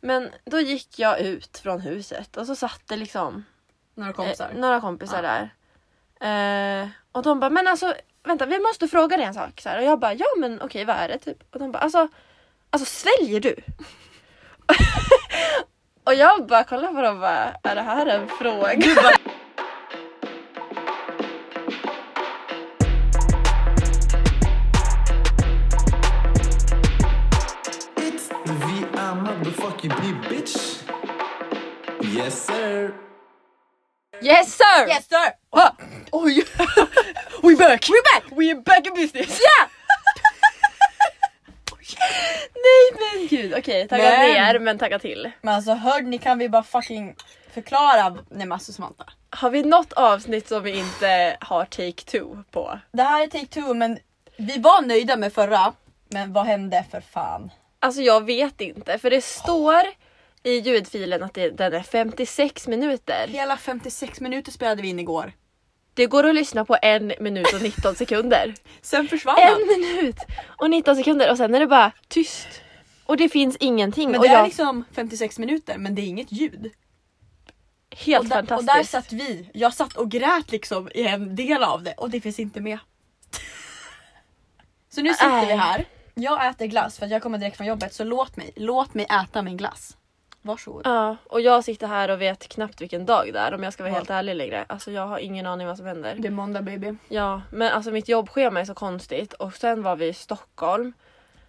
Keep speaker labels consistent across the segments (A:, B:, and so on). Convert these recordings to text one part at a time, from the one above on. A: Men då gick jag ut från huset och så satt det liksom
B: Några
A: Eh,
B: kompisar.
A: några kompisar
B: Ja.
A: där. Eh, och de bara, men alltså vänta vi måste fråga dig en sak. Så här, och jag bara, ja men okej vad är det typ? Och de bara, alltså, alltså sväljer du? och jag bara kollar på dem och bara, är det här en fråga?
C: It's the VR motherfucking B, bitch. Yes, sir.
A: yes sir!
B: Yes sir!
A: Ah, oj! We're back! We're back! We're back in business! Yeah! Nej men gud, okej tagga
B: Men-
A: ner men tagga till.
B: Men alltså hörde ni kan vi bara fucking förklara. Nej men alltså Samantha.
A: Har vi något avsnitt som vi inte har take two på?
B: Det här är take two men vi var nöjda med förra. Men vad hände för fan?
A: Alltså jag vet inte för det står i ljudfilen att det, den är 56 minuter.
B: Hela 56 minuter spelade vi in igår.
A: Det går att lyssna på en minut och 19 sekunder.
B: Sen försvann
A: En minut och 19 sekunder och sen är det bara tyst. Och det finns ingenting.
B: Men
A: och
B: det
A: jag,
B: är liksom 56 minuter men det är inget ljud.
A: helt
B: och, där, och
A: fantastiskt.
B: där satt vi. Jag satt och grät liksom i en del av det och det finns inte med. Så nu sitter vi
A: Nej.
B: här. Jag äter glass för att jag kommer direkt från jobbet så låt mig, låt mig äta min glass. Varsågod.
A: Ja, och jag sitter här och vet knappt vilken dag det är om jag ska vara
B: Ja.
A: helt ärlig längre. Alltså jag har ingen aning vad som händer.
B: Det är måndag baby.
A: Ja, men alltså mitt jobbschema är så konstigt och sen var vi i Stockholm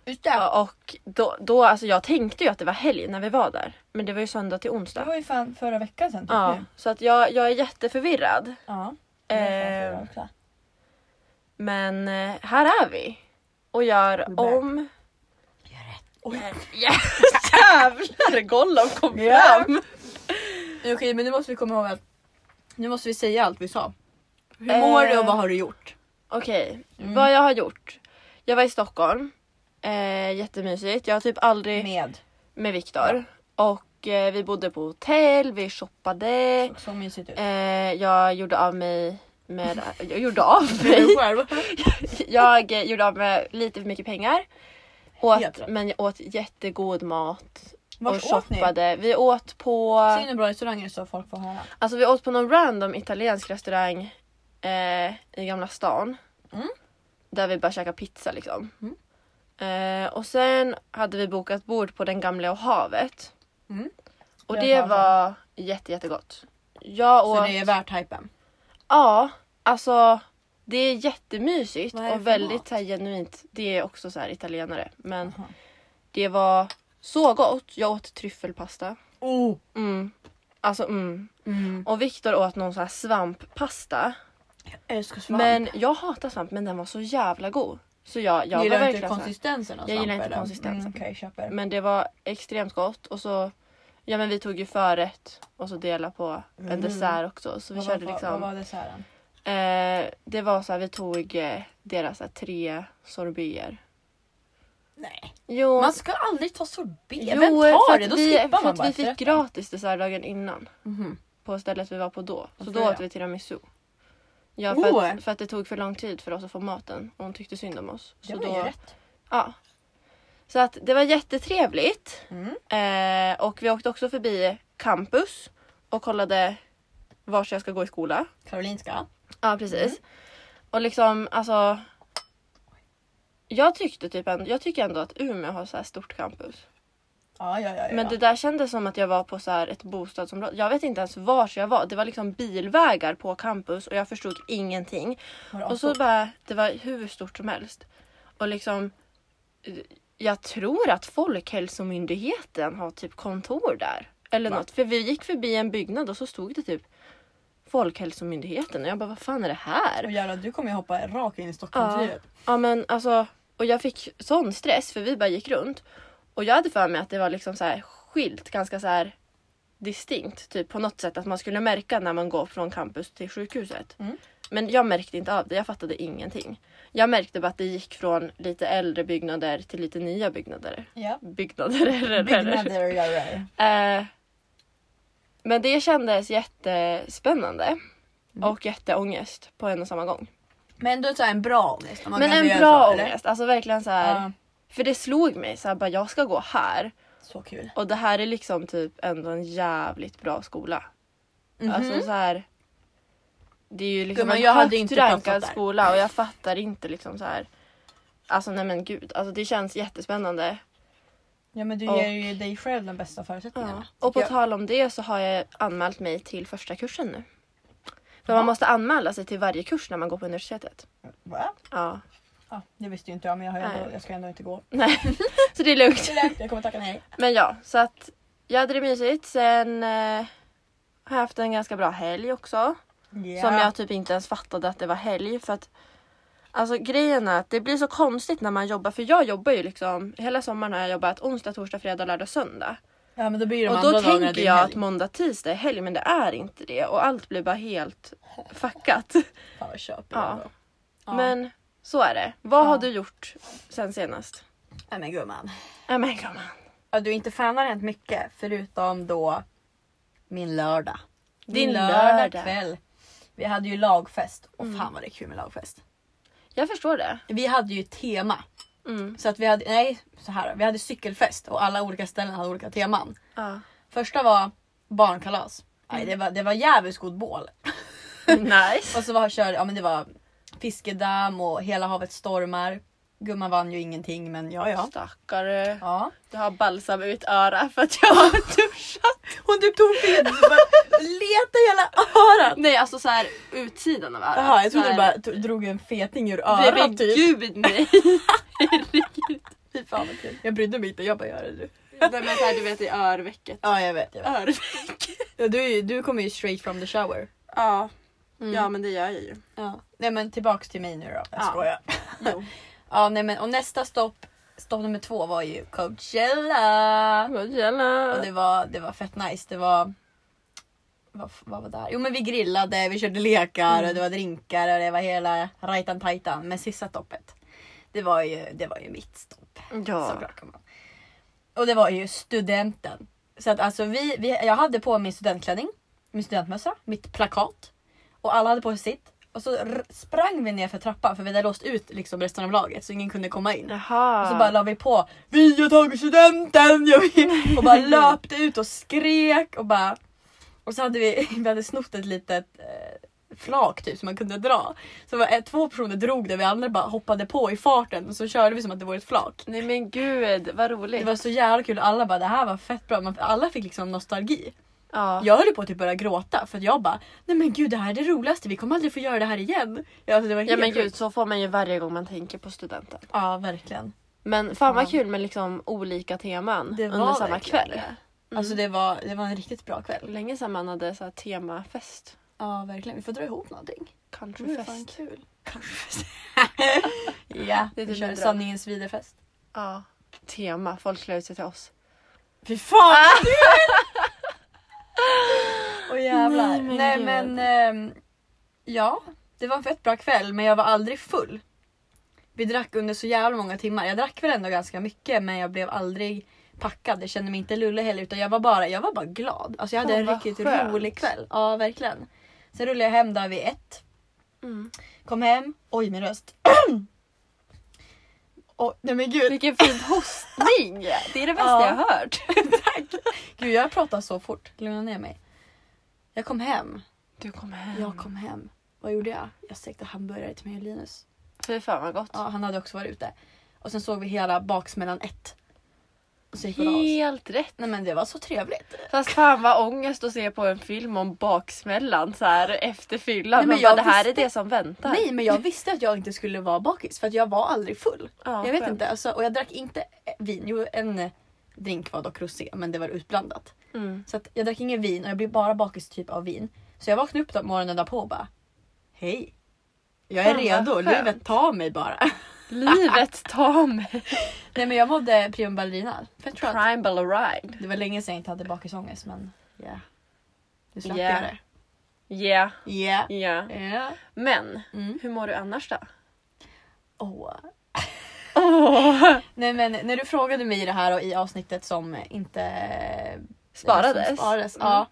B: Just det.
A: Ja, och då, då alltså jag tänkte ju att det var helg när vi var där. Men det var ju söndag till
B: Det
A: onsdag.
B: var ju fan förra veckan sen typ
A: Ja,
B: nu.
A: så att jag, jag är jätteförvirrad.
B: Ja.
A: Eh, men eh, här är vi. Och gör
B: back.
A: om...
B: Oj.
A: Jävlar Gollum kom
B: Ja.
A: fram!
B: Okej men nu måste vi komma ihåg att nu måste vi säga allt vi sa. Hur
A: Eh.
B: mår du och vad har du gjort?
A: Okej, vad jag har gjort. Jag var i Stockholm. Eh, jättemysigt. Jag har typ aldrig med,
B: Eh. Med.
A: Viktor. Och eh, vi bodde på hotell, vi shoppade.
B: Så mysigt ut.
A: Eh, jag gjorde av mig med... Jag gjorde av mig?
B: Du själv.
A: Jag eh, gjorde av med lite för mycket pengar. Åt,
B: Helt rätt.
A: men jag åt jättegod mat. och
B: Vart åt ni?
A: shoppade. Vi åt på
B: Säg nu bra restauranger så folk får höra.
A: alltså vi åt på någon random italiensk restaurang eh, i Gamla stan.
B: Mm.
A: Där vi bara käkade pizza liksom. Eh, och sen hade vi bokat bord på Den gamla och havet.
B: Mm.
A: Och
B: Jag
A: det
B: har-
A: var jätte, jättegott. Jag åt...
B: Så det är värt hypen.
A: Ja, alltså det är jättemysigt
B: Vad är det för
A: och väldigt
B: mat?
A: så här, genuint. Det är också så här italienare. Men
B: Aha.
A: det var så gott. Jag åt tryffelpasta.
B: Oh.
A: Mm. Alltså mm.
B: Mm.
A: Och Viktor åt någon så här svamppasta.
B: Jag älskar svamp.
A: Men jag hatar svamp men den var så jävla god. Så jag, jag var
B: gillar inte
A: verkligen så här-
B: konsistensen av
A: Jag gillar
B: svamp,
A: inte
B: eller?
A: konsistensen.
B: Mm, Okej, köper.
A: Men det var extremt gott och så Ja men vi tog ju förrätt och så delade på en
B: Mm.
A: dessert också. Så vi
B: Vad var-
A: körde liksom...
B: Vad var desserten?
A: Eh, det var så här, vi tog eh, deras så här, tre sorbier.
B: Nej.
A: Jo,
B: Man ska aldrig ta sorbet.
A: jo,
B: Vem
A: för
B: tar
A: att
B: det? Då
A: vi,
B: skippar
A: för
B: man
A: att
B: bara
A: vi fick
B: efterrätten.
A: gratis dessertdagen innan
B: Mhm.
A: på stället vi var på då. Så
B: Varför
A: då
B: det?
A: åt vi tiramisu. Ja, för,
B: Oh.
A: att, för att det tog för lång tid för oss att få maten och hon tyckte synd om oss.
B: Det
A: Så
B: var ju rätt.
A: Ja. Så att det var jättetrevligt.
B: Mm.
A: Eh, och vi åkte också förbi campus och kollade vart jag ska gå i skola.
B: Karolinska.
A: Ja precis. Och liksom alltså. Jag tyckte typ ändå, jag tycker ändå att Umeå har så här stort campus.
B: Ja, ja, ja. ja.
A: Men det där kändes som att jag var på så här ett bostadsområde. Jag vet inte ens var jag var. Det var liksom bilvägar på campus och jag förstod ingenting.
B: Var det
A: Och så
B: avstort?
A: bara, det var hur stort som helst. Och liksom, eh, jag tror att Folkhälsomyndigheten har typ kontor där. Eller
B: Va?
A: något. För vi gick förbi en byggnad och så stod det typ Folkhälsomyndigheten och jag bara, vad fan är det här?
B: Och jävlar, du kommer ju hoppa rakt in i typ. Stockholmslivet.
A: Ja men alltså, och jag fick sån stress för vi bara gick runt. Och jag hade för mig att det var liksom så här skilt ganska så här distinkt. Typ på något sätt att man skulle märka när man går från campus till sjukhuset.
B: Mm.
A: Men jag märkte inte av det, jag fattade ingenting. Jag märkte bara att det gick från lite äldre byggnader till lite nya byggnader.
B: Ja.
A: Byggnader.
B: Byggnader, ja, ja.
A: Eh, men det kändes jättespännande.
B: Mm.
A: Och jätteångest på en och samma gång.
B: Men ändå så här en bra ångest. om man
A: Men
B: ändå
A: en
B: gör
A: bra
B: så, eller?
A: ångest, alltså verkligen så här.
B: Ja.
A: För det slog mig så här, bara jag ska gå här
B: Så kul.
A: Och det här är liksom typ ändå en jävligt bra skola.
B: Mhm.
A: Alltså så här. Det är ju liksom
B: Gumman,
A: en
B: jag hade
A: högt
B: inte klarat
A: rankad
B: där.
A: skola och jag fattar inte liksom så här. Alltså nej men gud, alltså det känns jättespännande.
B: ja men du
A: och-
B: ger ju dig själv de bästa förutsättningarna.
A: Och på
B: tycker jag.
A: tal om det så har jag anmält mig till första kursen nu. För man måste anmäla sig till varje kurs när man går på universitetet.
B: Va?
A: Ja.
B: Ja, det visste ju inte jag men jag, har ju ändå,
A: Nej.
B: jag ska ändå inte gå.
A: Nej, så det är lugnt.
B: Det är lugnt, jag kommer tacka nej.
A: Men ja, så att jag hade det mysigt. Sen eh, har jag haft en ganska bra helg också.
B: Ja.
A: Som jag typ inte ens fattade att det var helg. För att, alltså grejen är att det blir så konstigt när man jobbar. För jag jobbar ju liksom, hela sommaren har jag jobbat onsdag, torsdag, fredag, lördag, söndag.
B: Ja men då blir de
A: Och
B: andra
A: då
B: dagarna
A: tänker
B: din
A: jag
B: helg.
A: att måndag, tisdag är helg men det är inte det. Och allt blir bara helt fuckat.
B: Fan vad köper
A: Ja.
B: jag då. Ja.
A: Men så är det. Vad
B: Ja.
A: har du gjort sen senast?
B: Nej men gumman.
A: Nej men gumman.
B: Ja, du inte fan har hänt mycket förutom då min lördag.
A: Din
B: Min lördag,
A: lördag. Mm.
B: kväll. Vi hade ju lagfest och fan vad det är kul med lagfest.
A: Jag förstår det.
B: Vi hade ju tema.
A: Mm.
B: Så att vi hade, nej så här, vi hade cykelfest och alla olika ställen hade olika teman.
A: Ja.
B: Första var barnkalas. Nej,
A: Mm.
B: det var, det var jävligt god bål.
A: Nice.
B: Och så var, kör, ja, men det var fiskedamm och hela havet stormar. Gumman vann ju ingenting men ja ja.
A: Stackare.
B: ja.
A: Du har balsam ut öra för att jag har duschat.
B: Hon typ tog fel och bara letade i hela örat.
A: Nej alltså så här utsidan av örat.
B: Jaha jag trodde
A: Så
B: du
A: här-
B: bara to- drog en feting ur
A: Nej
B: örat
A: men
B: typ.
A: gud nej. Herregud.
B: Fy fan vad kul. Jag brydde mig inte, jag bara gör det du.
A: Nej men såhär du vet i örväcket.
B: Ja jag vet. Jag vet.
A: Örväck.
B: Ja, Du, är ju- du kommer ju straight from the shower.
A: Ja.
B: Mm.
A: ja men det gör jag ju.
B: Ja. Nej men tillbaks till mig nu då. Jag
A: Ja.
B: skojar.
A: Jo.
B: Ja nej men och nästa stopp, stopp nummer två var ju Coachella. Och det var, det var fett nice. Det var... Vad, vad var där? Jo men vi grillade, vi körde lekar och det var drinkar och det var hela rajtan tajtan. Men sista stoppet, det var ju, det var ju mitt stopp.
A: Ja.
B: Såklart kan man. Och det var ju studenten. Så att alltså vi, vi, jag hade på min studentklänning, min studentmössa, mitt plakat. Och alla hade på sig sitt. Och så r- sprang vi ner för trappan för vi hade låst ut liksom resten av laget så ingen kunde komma in.
A: Jaha.
B: Och så bara la vi på Vi har tagit studenten! Jag vill- Och bara löpte ut och skrek och bara Och så hade vi, vi hade snott ett litet eh, flak typ som man kunde dra. Så det var, eh, två personer drog det vi andra bara hoppade på i farten och så körde vi som att det vore ett flak.
A: Nej men gud vad roligt.
B: Det var så jävla kul alla bara det här var fett bra. Man, alla fick liksom nostalgi.
A: ja.
B: Jag höll på att typ börja gråta för att jag bara nej men gud det här är det roligaste vi kommer aldrig få göra det här igen. Ja, Alltså, det var helt
A: ja men
B: sjukt.
A: gud så får man ju varje gång man tänker på studenten.
B: Ja verkligen.
A: Men fan vad
B: Ja.
A: kul med liksom olika teman
B: Det
A: under
B: var
A: samma
B: verkligen
A: kväll.
B: det. Alltså det var, det var en riktigt bra kväll.
A: Länge sedan man hade så här temafest.
B: Ja verkligen, vi får dra ihop någonting.
A: Countryfest.
B: kul. ja,
A: Det är
B: vi
A: typ
B: kör
A: en dröm.
B: sanningens viderfest.
A: Ja. Tema, folk klär ut sig till oss.
B: Fy fan! Ah. Åh
A: Nej,
B: jävlar. Nej
A: men
B: men,
A: gud.
B: ehm, ja, det var en fett bra kväll men jag var aldrig full. Vi drack under så jävla många timmar. Jag drack väl ändå ganska mycket men jag blev aldrig packad. Jag kände mig inte lulle heller utan jag var bara, jag var bara glad. Alltså jag hade
A: Fan,
B: en
A: vad
B: riktigt
A: skönt.
B: rolig kväll. Ja verkligen. Sen rullade jag hem där vid ett.
A: Mm.
B: Kom hem. Oj min röst. Åh, nej men gud.
A: Vilken fin hostning! Det är det bästa
B: Ja.
A: jag har hört.
B: Gud jag pratar så fort. Lugna ner mig. Jag kom hem.
A: Du kom hem.
B: Jag kom hem. Vad gjorde jag? Jag stekte hamburgare till mig och Linus.
A: Fy fan vad gott.
B: Ja, han hade också varit ute. Och sen såg vi hela baksmällan ett. Och så gick vi och la oss.
A: Helt rätt.
B: Nej men det var så trevligt.
A: Fast fan vad ångest att se på en film om baksmällan så här efter fyllan.
B: Nej, men
A: Man bara,
B: jag
A: det här
B: visste-
A: är det som väntar.
B: Nej men jag visste att jag inte skulle vara bakis för att jag var aldrig full.
A: Ja,
B: jag vet
A: skönt.
B: inte. Alltså, och jag drack inte vin. Jo en drink var dock rosé men det var utblandat.
A: Mm.
B: Så att jag drack ingen vin och jag blev bara bakis typ av vin. Så jag vaknade upp då morgonen därpå och bara Hej! Jag är
A: Fan, vad
B: redo.
A: skönt.
B: Livet tar mig bara.
A: Livet tar mig.
B: Nej men jag mådde prima ballerina. Fett skönt.
A: Prime Ballerine.
B: Det var länge sedan jag inte hade bakisångest men ja. Yeah. Nu slapp
A: Yeah.
B: jag
A: Yeah.
B: det. Yeah.
A: yeah.
B: Yeah.
A: Men
B: Mm.
A: hur mår du annars då?
B: Åh.
A: Oh.
B: Nej men när du frågade mig det här och i avsnittet som inte
A: Sparades.
B: Som sparades
A: Mm.
B: ja,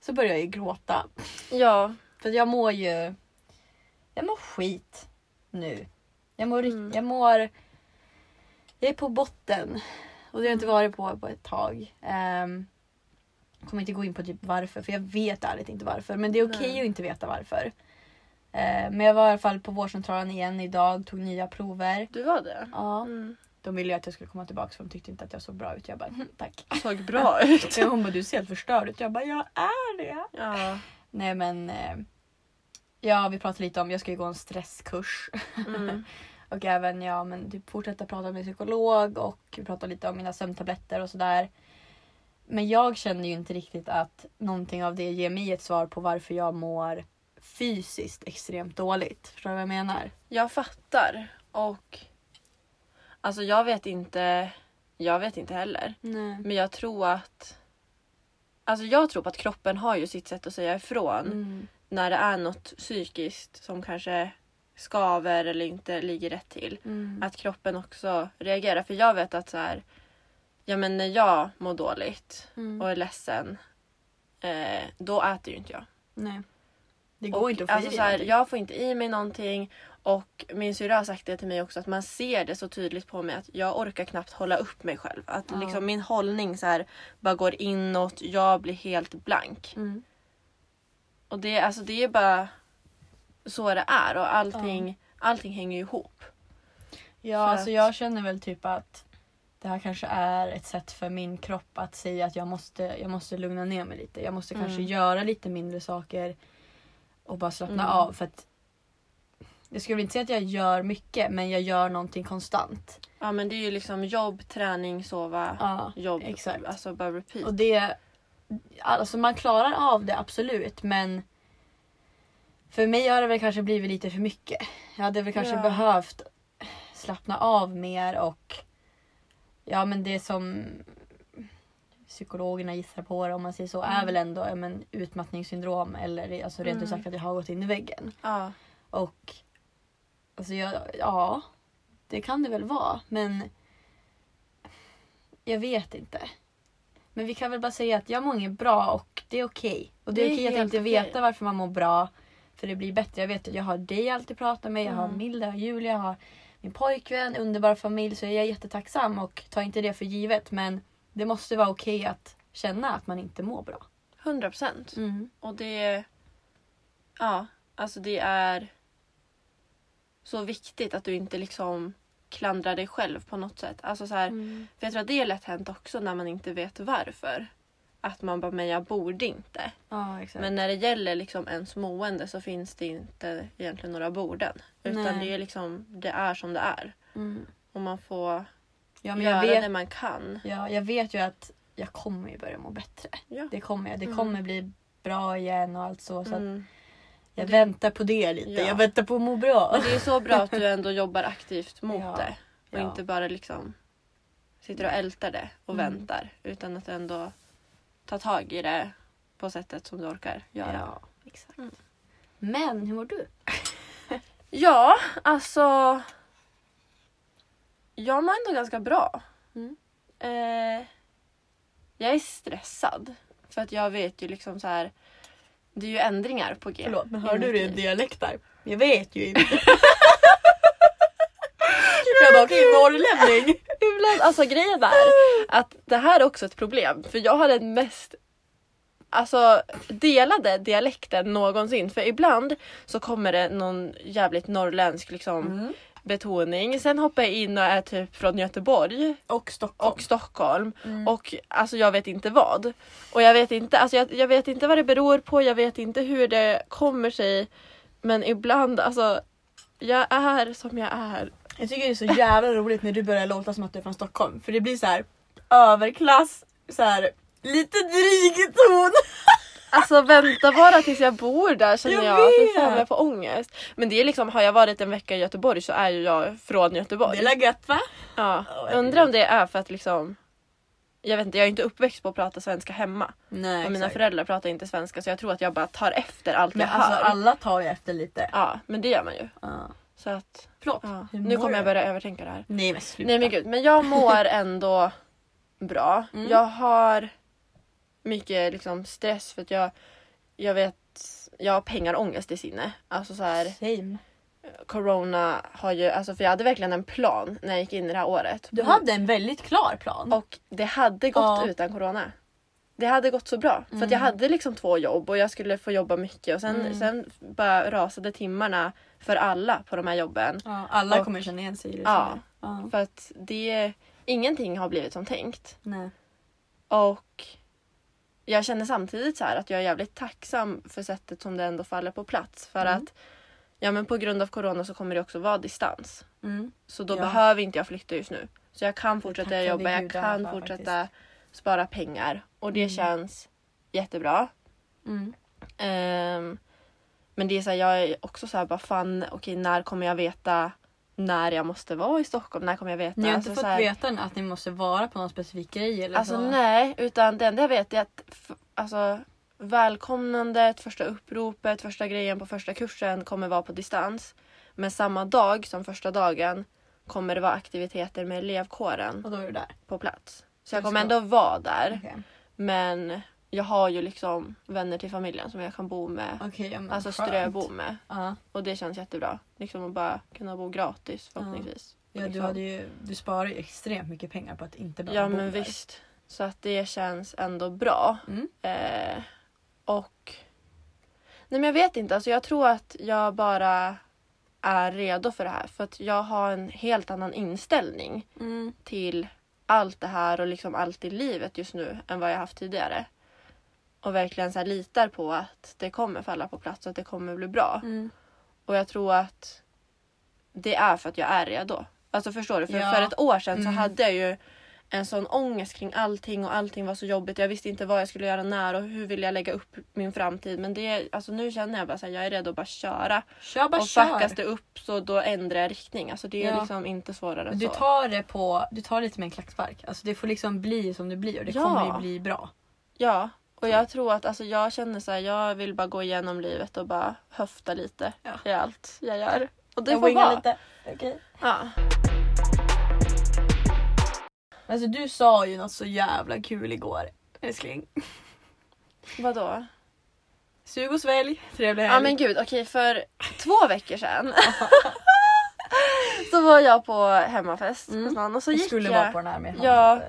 B: så började jag ju gråta.
A: Ja.
B: För jag mår ju... Jag mår skit nu. Jag mår, rikt-
A: Mm.
B: jag mår... Jag är på botten Och det har jag inte varit på på ett tag. Ehm, kommer inte gå in på typ varför, för jag vet ärligt inte varför. Men det är okej
A: Nej.
B: att inte veta varför. Ehm, men jag var i alla fall på vårdcentralen igen idag, tog nya prover.
A: Du var det?
B: Ja,
A: Mm.
B: de ville ju att jag skulle komma tillbaka för de tyckte inte att jag såg bra ut. Jag bara "Mm, tack.
A: Såg bra ut.
B: Ja, Hon bara du ser helt förstörd ut. Jag bara jag är det.
A: Ja.
B: Nej men. eh, Ja vi pratade lite om jag ska ju gå en stresskurs.
A: Mm.
B: Och även ja men typ fortsätta prata med psykolog och vi pratade lite om mina sömntabletter och sådär. Men jag känner ju inte riktigt att någonting av det ger mig ett svar på varför jag mår fysiskt extremt dåligt. Förstår du vad jag menar?
A: Jag fattar. Och alltså jag vet inte. Jag vet inte heller.
B: Nej.
A: Men jag tror att Alltså jag tror på att kroppen har ju sitt sätt att säga ifrån
B: Mm.
A: när det är något psykiskt som kanske skaver eller inte ligger rätt till.
B: Mm.
A: Att kroppen också reagerar. För jag vet att så här, ja men när jag mår dåligt
B: Mm.
A: och är ledsen, eh, då äter ju inte jag.
B: Nej. Det
A: Och,
B: går inte att få
A: alltså,
B: i
A: så här,
B: någonting.
A: Jag får inte i mig någonting. Och min syrra har sagt det till mig också att man ser det så tydligt på mig att jag orkar knappt hålla upp mig själv. Att
B: Ja.
A: liksom min hållning så här, bara går inåt, jag blir helt blank.
B: Mm.
A: Och det, alltså, det är bara så det är och allting, allting hänger ju ihop.
B: Ja,
A: För
B: alltså
A: att-
B: jag känner väl typ att det här kanske är ett sätt för min kropp att säga att jag måste, jag måste lugna ner mig lite. Jag måste kanske
A: Mm.
B: göra lite mindre saker och bara slappna
A: Mm.
B: av. För att jag skulle inte säga att jag gör mycket men jag gör någonting konstant.
A: Ja men det är ju liksom jobb, träning, sova,
B: Ja,
A: jobb.
B: exakt.
A: Alltså bara repeat.
B: Och det, alltså man klarar av det absolut men för mig har det väl kanske blivit lite för mycket. Jag hade väl kanske
A: Ja.
B: behövt slappna av mer och ja men det som psykologerna gissar på det, om man säger så är väl ändå ja, men, utmattningssyndrom eller alltså, rent
A: Mm.
B: ut sagt att jag har gått in i väggen.
A: ja.
B: Och alltså jag, ja, det kan det väl vara men jag vet inte. Men vi kan väl bara säga att jag mår inget bra och det är okej. Och det är
A: Det är
B: okej att
A: helt
B: inte
A: okej.
B: veta varför man mår bra. För det blir bättre. Jag vet att jag har dig jag alltid prata med, jag har
A: Mm.
B: Milda och Julia, jag har min pojkvän, underbar familj. Så jag är jättetacksam och tar inte det för givet. Men det måste vara okej att känna att man inte mår bra.
A: 100 procent. Och det... Ja, alltså det är så viktigt att du inte liksom klandrar dig själv på något sätt. Alltså så här,
B: Mm.
A: För jag tror att det är lätt hänt också när man inte vet varför. Att man bara, men jag borde inte.
B: Ja, exakt.
A: Men när det gäller liksom ens mående så finns det inte egentligen några borden. Utan
B: Nej.
A: det är liksom, det är som det är.
B: Mm.
A: Och man får
B: Ja, men
A: göra
B: jag vet
A: det man kan.
B: Ja, jag vet ju att jag kommer ju börja må bättre.
A: Ja.
B: Det kommer jag. Det
A: Mm.
B: kommer bli bra igen och allt så. så att
A: Mm.
B: jag väntar på det lite.
A: Ja.
B: Jag väntar på att må bra.
A: Men det är så bra att du ändå jobbar aktivt mot
B: Ja,
A: det. Och
B: ja.
A: inte bara liksom sitter och ältar det och
B: Mm.
A: väntar. Utan att ändå ta tag i det på sättet som du orkar göra. Ja,
B: Ja, Mm. exakt. Men hur mår du?
A: alltså. Jag mår ändå ganska bra.
B: Mm.
A: Eh, jag är stressad. För att jag vet ju liksom så här. Det är ju ändringar på G.
B: Förlåt, men
A: i
B: hör
A: mitt
B: du det i
A: liv.
B: dialekt där? Jag vet ju inte. jag bara, okej, norrlänning.
A: Ibland, alltså grejen är att det här är också ett problem för jag har den mest alltså, delade dialekten någonsin. För ibland så kommer det någon jävligt norrländsk liksom, betoning. Sen hoppar jag in och är typ från Göteborg
B: Och Stockholm.
A: och Stockholm
B: Mm.
A: och alltså jag vet inte vad. Och jag vet inte, alltså, jag, jag vet inte vad det beror på, jag vet inte hur det kommer sig. Men ibland alltså, jag är som jag är.
B: Jag tycker det är så jävla roligt när du börjar låta som att du är från Stockholm. För det blir så här överklass, så här lite dryg ton.
A: Alltså vänta bara tills jag bor där känner
B: Jag
A: jag. Fy
B: vet.
A: fan vad jag får ångest. Men det är liksom, har jag varit en vecka i Göteborg så är ju jag från
B: Det
A: Göteborg.
B: är Oh, väl gött va?
A: Ja. Undrar om det är för att liksom jag vet inte, jag är inte uppväxt på att prata svenska hemma.
B: Nej,
A: Och mina
B: exakt.
A: föräldrar pratar inte svenska så jag tror att jag bara tar efter allt
B: Men
A: jag
B: alltså
A: hör.
B: alla tar ju efter lite.
A: Ja, men det gör man ju.
B: Ja.
A: Så att,
B: Förlåt,
A: ja.
B: hur
A: Nu
B: mår
A: kommer
B: du?
A: jag börja övertänka det här.
B: Nej men sluta.
A: Nej men gud, men jag mår ändå bra.
B: Mm.
A: Jag har mycket liksom stress för att jag, jag vet, jag har pengarångest i sinne. Alltså så här,
B: Same.
A: corona har ju, alltså för jag hade verkligen en plan när jag gick in i det här året.
B: Du hade en väldigt klar plan.
A: Och det hade gått
B: Ja. Mm.
A: utan corona. Det hade gått så bra. För att jag hade liksom två jobb och jag skulle få jobba mycket. Och sen, sen bara rasade timmarna för alla på de här jobben.
B: Ja, alla
A: Och-
B: kommer känna igen sig i det.
A: Ja.
B: Ja.
A: För att det, ingenting har blivit som tänkt.
B: Nej.
A: Och jag känner samtidigt så här att jag är jävligt tacksam för sättet som det ändå faller på plats. För
B: Mm.
A: att ja, men på grund av corona så kommer det också vara distans.
B: Mm.
A: Så då
B: Ja.
A: behöver inte jag flytta just nu. Så jag kan fortsätta
B: tackar vi
A: jobba, jag
B: gudarna
A: kan
B: för
A: fortsätta spara pengar. Och det känns jättebra.
B: Mm.
A: Ehm, men det är så här, jag är också så här, bara fan, okej när kommer jag veta när jag måste vara i Stockholm? När kommer jag veta?
B: Ni har
A: Alltså,
B: inte
A: så
B: fått
A: här-
B: veta än att ni måste vara på någon specifik grej eller
A: Alltså
B: så?
A: nej, utan det enda jag vet är att f- alltså, välkomnandet, första uppropet, första grejen på första kursen kommer vara på distans. Men samma dag som första dagen kommer det vara aktiviteter med elevkåren
B: Och då är du där.
A: på plats. Så jag
B: Du
A: kommer
B: ska-
A: ändå vara där.
B: Okej,
A: Men jag har ju liksom vänner till familjen som jag kan bo med.
B: Okej, ja, men
A: Alltså
B: Ah, skönt.
A: ströbo med.
B: Ja,
A: Och det känns jättebra. Liksom att bara kunna bo gratis förhoppningsvis.
B: ja du,
A: Liksom.
B: hade ju, du sparar ju extremt mycket pengar på att inte behöva
A: Ja
B: bo
A: men
B: där.
A: visst. Så att det känns ändå bra.
B: Mm.
A: Eh, och... Nej men jag vet inte. Alltså jag tror att jag bara är redo för det här. För att jag har en helt annan inställning
B: Mm.
A: till allt det här och liksom allt i livet just nu än vad jag haft tidigare. Och verkligen så här litar på att det kommer falla på plats och att det kommer bli bra.
B: Mm.
A: Och jag tror att det är för att jag är redo. Alltså förstår du? För,
B: Ja.
A: för ett år sedan
B: Mm.
A: så hade jag ju en sån ångest kring allting och allting var så jobbigt. Jag visste inte vad jag skulle göra när och hur vill jag lägga upp min framtid. Men det, alltså nu känner jag bara att jag är redo att bara köra.
B: Kör bara
A: och fuckas
B: kör.
A: det upp så då ändrar jag riktning. Alltså det är
B: Ja.
A: liksom inte svårare än
B: Du
A: så.
B: tar det på, du tar lite med en klackspark. Alltså det får liksom bli som det blir och det
A: Ja.
B: kommer ju bli bra.
A: Ja. Och jag tror att alltså, jag känner så här, jag vill bara gå igenom livet och bara höfta lite
B: Ja.
A: i allt jag gör. Och det
B: jag
A: får
B: wingar
A: vara.
B: lite. Okej.
A: Ja.
B: Alltså du sa ju något så jävla kul igår älskling.
A: Vadå?
B: Sug och svälj, trevlig helg.
A: Ja men gud, okej för två veckor sedan så var jag på hemmafest hos någon och så
B: jag
A: gick
B: skulle
A: Mm. jag.
B: vara på den här med honom. eh,
A: Ja.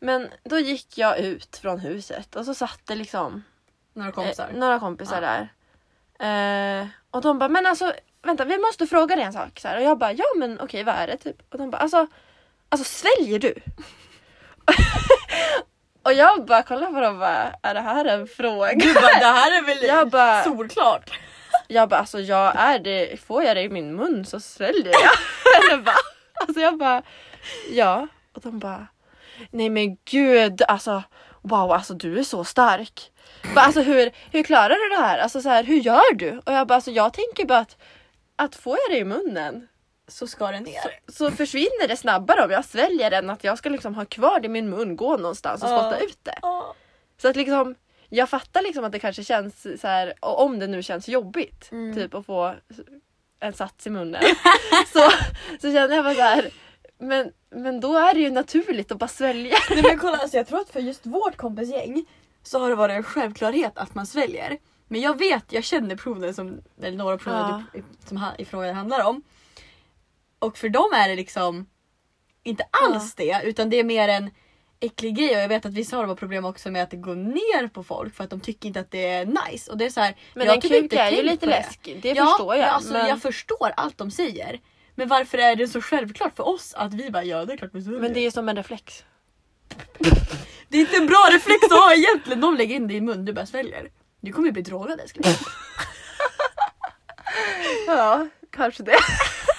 A: Men då gick jag ut från huset och så satt det liksom
B: Några
A: eh,
B: kompisar.
A: några kompisar
B: Ja.
A: där. Eh, och de bara, men alltså vänta vi måste fråga dig en sak. Så här. Och jag bara, ja men okej vad är det typ? Och de bara, alltså, alltså sväljer du? och jag bara kollar på dem och bara, är det här en fråga?
B: Du bara, det här är väl
A: Jag bara,
B: solklart.
A: Jag bara alltså jag är det, får jag det i min mun så sväljer jag. Eller va? Alltså jag bara ja. Och de bara nej men gud alltså wow alltså du är så stark. Bara, alltså hur, hur klarar du det här? Alltså så här, hur gör du? Och jag bara alltså jag tänker bara att, att får jag det i munnen
B: Så ska det ner.
A: så försvinner det snabbare om jag sväljer än att jag ska liksom ha kvar det i min mun, gå någonstans och
B: Ja.
A: spotta ut det.
B: Ja.
A: Så att liksom, jag fattar liksom att det kanske känns så här, och om det nu känns jobbigt,
B: Mm.
A: typ att få en sats i munnen. så, så känner jag bara så här, men, men då är det ju naturligt att bara svälja.
B: Nej, men kolla, alltså, jag tror att för just vårt kompisgäng så har det varit en självklarhet att man sväljer. Men jag vet, jag känner proven som, eller några proven du- som ha- i frågan handlar om. Och för dem är det liksom inte alls det utan det är mer en äcklig grej och jag vet att vissa har problem också med att det går ner på folk för att de tycker inte att det är nice. Och det är så här,
A: Men
B: jag
A: en
B: typ
A: kuk
B: inte
A: är ju
B: tänkt
A: lite
B: på det.
A: läskig, det förstår jag.
B: men Alltså,
A: men,
B: Jag förstår allt de säger. Men varför är det så självklart för oss att vi bara ja det är klart vi sväljer.
A: men det är som en reflex.
B: Det är inte en bra reflex att ha egentligen. De lägger in det i mun, du bara sväljer. Du kommer ju bli drogad älskling.
A: Ja, kanske det.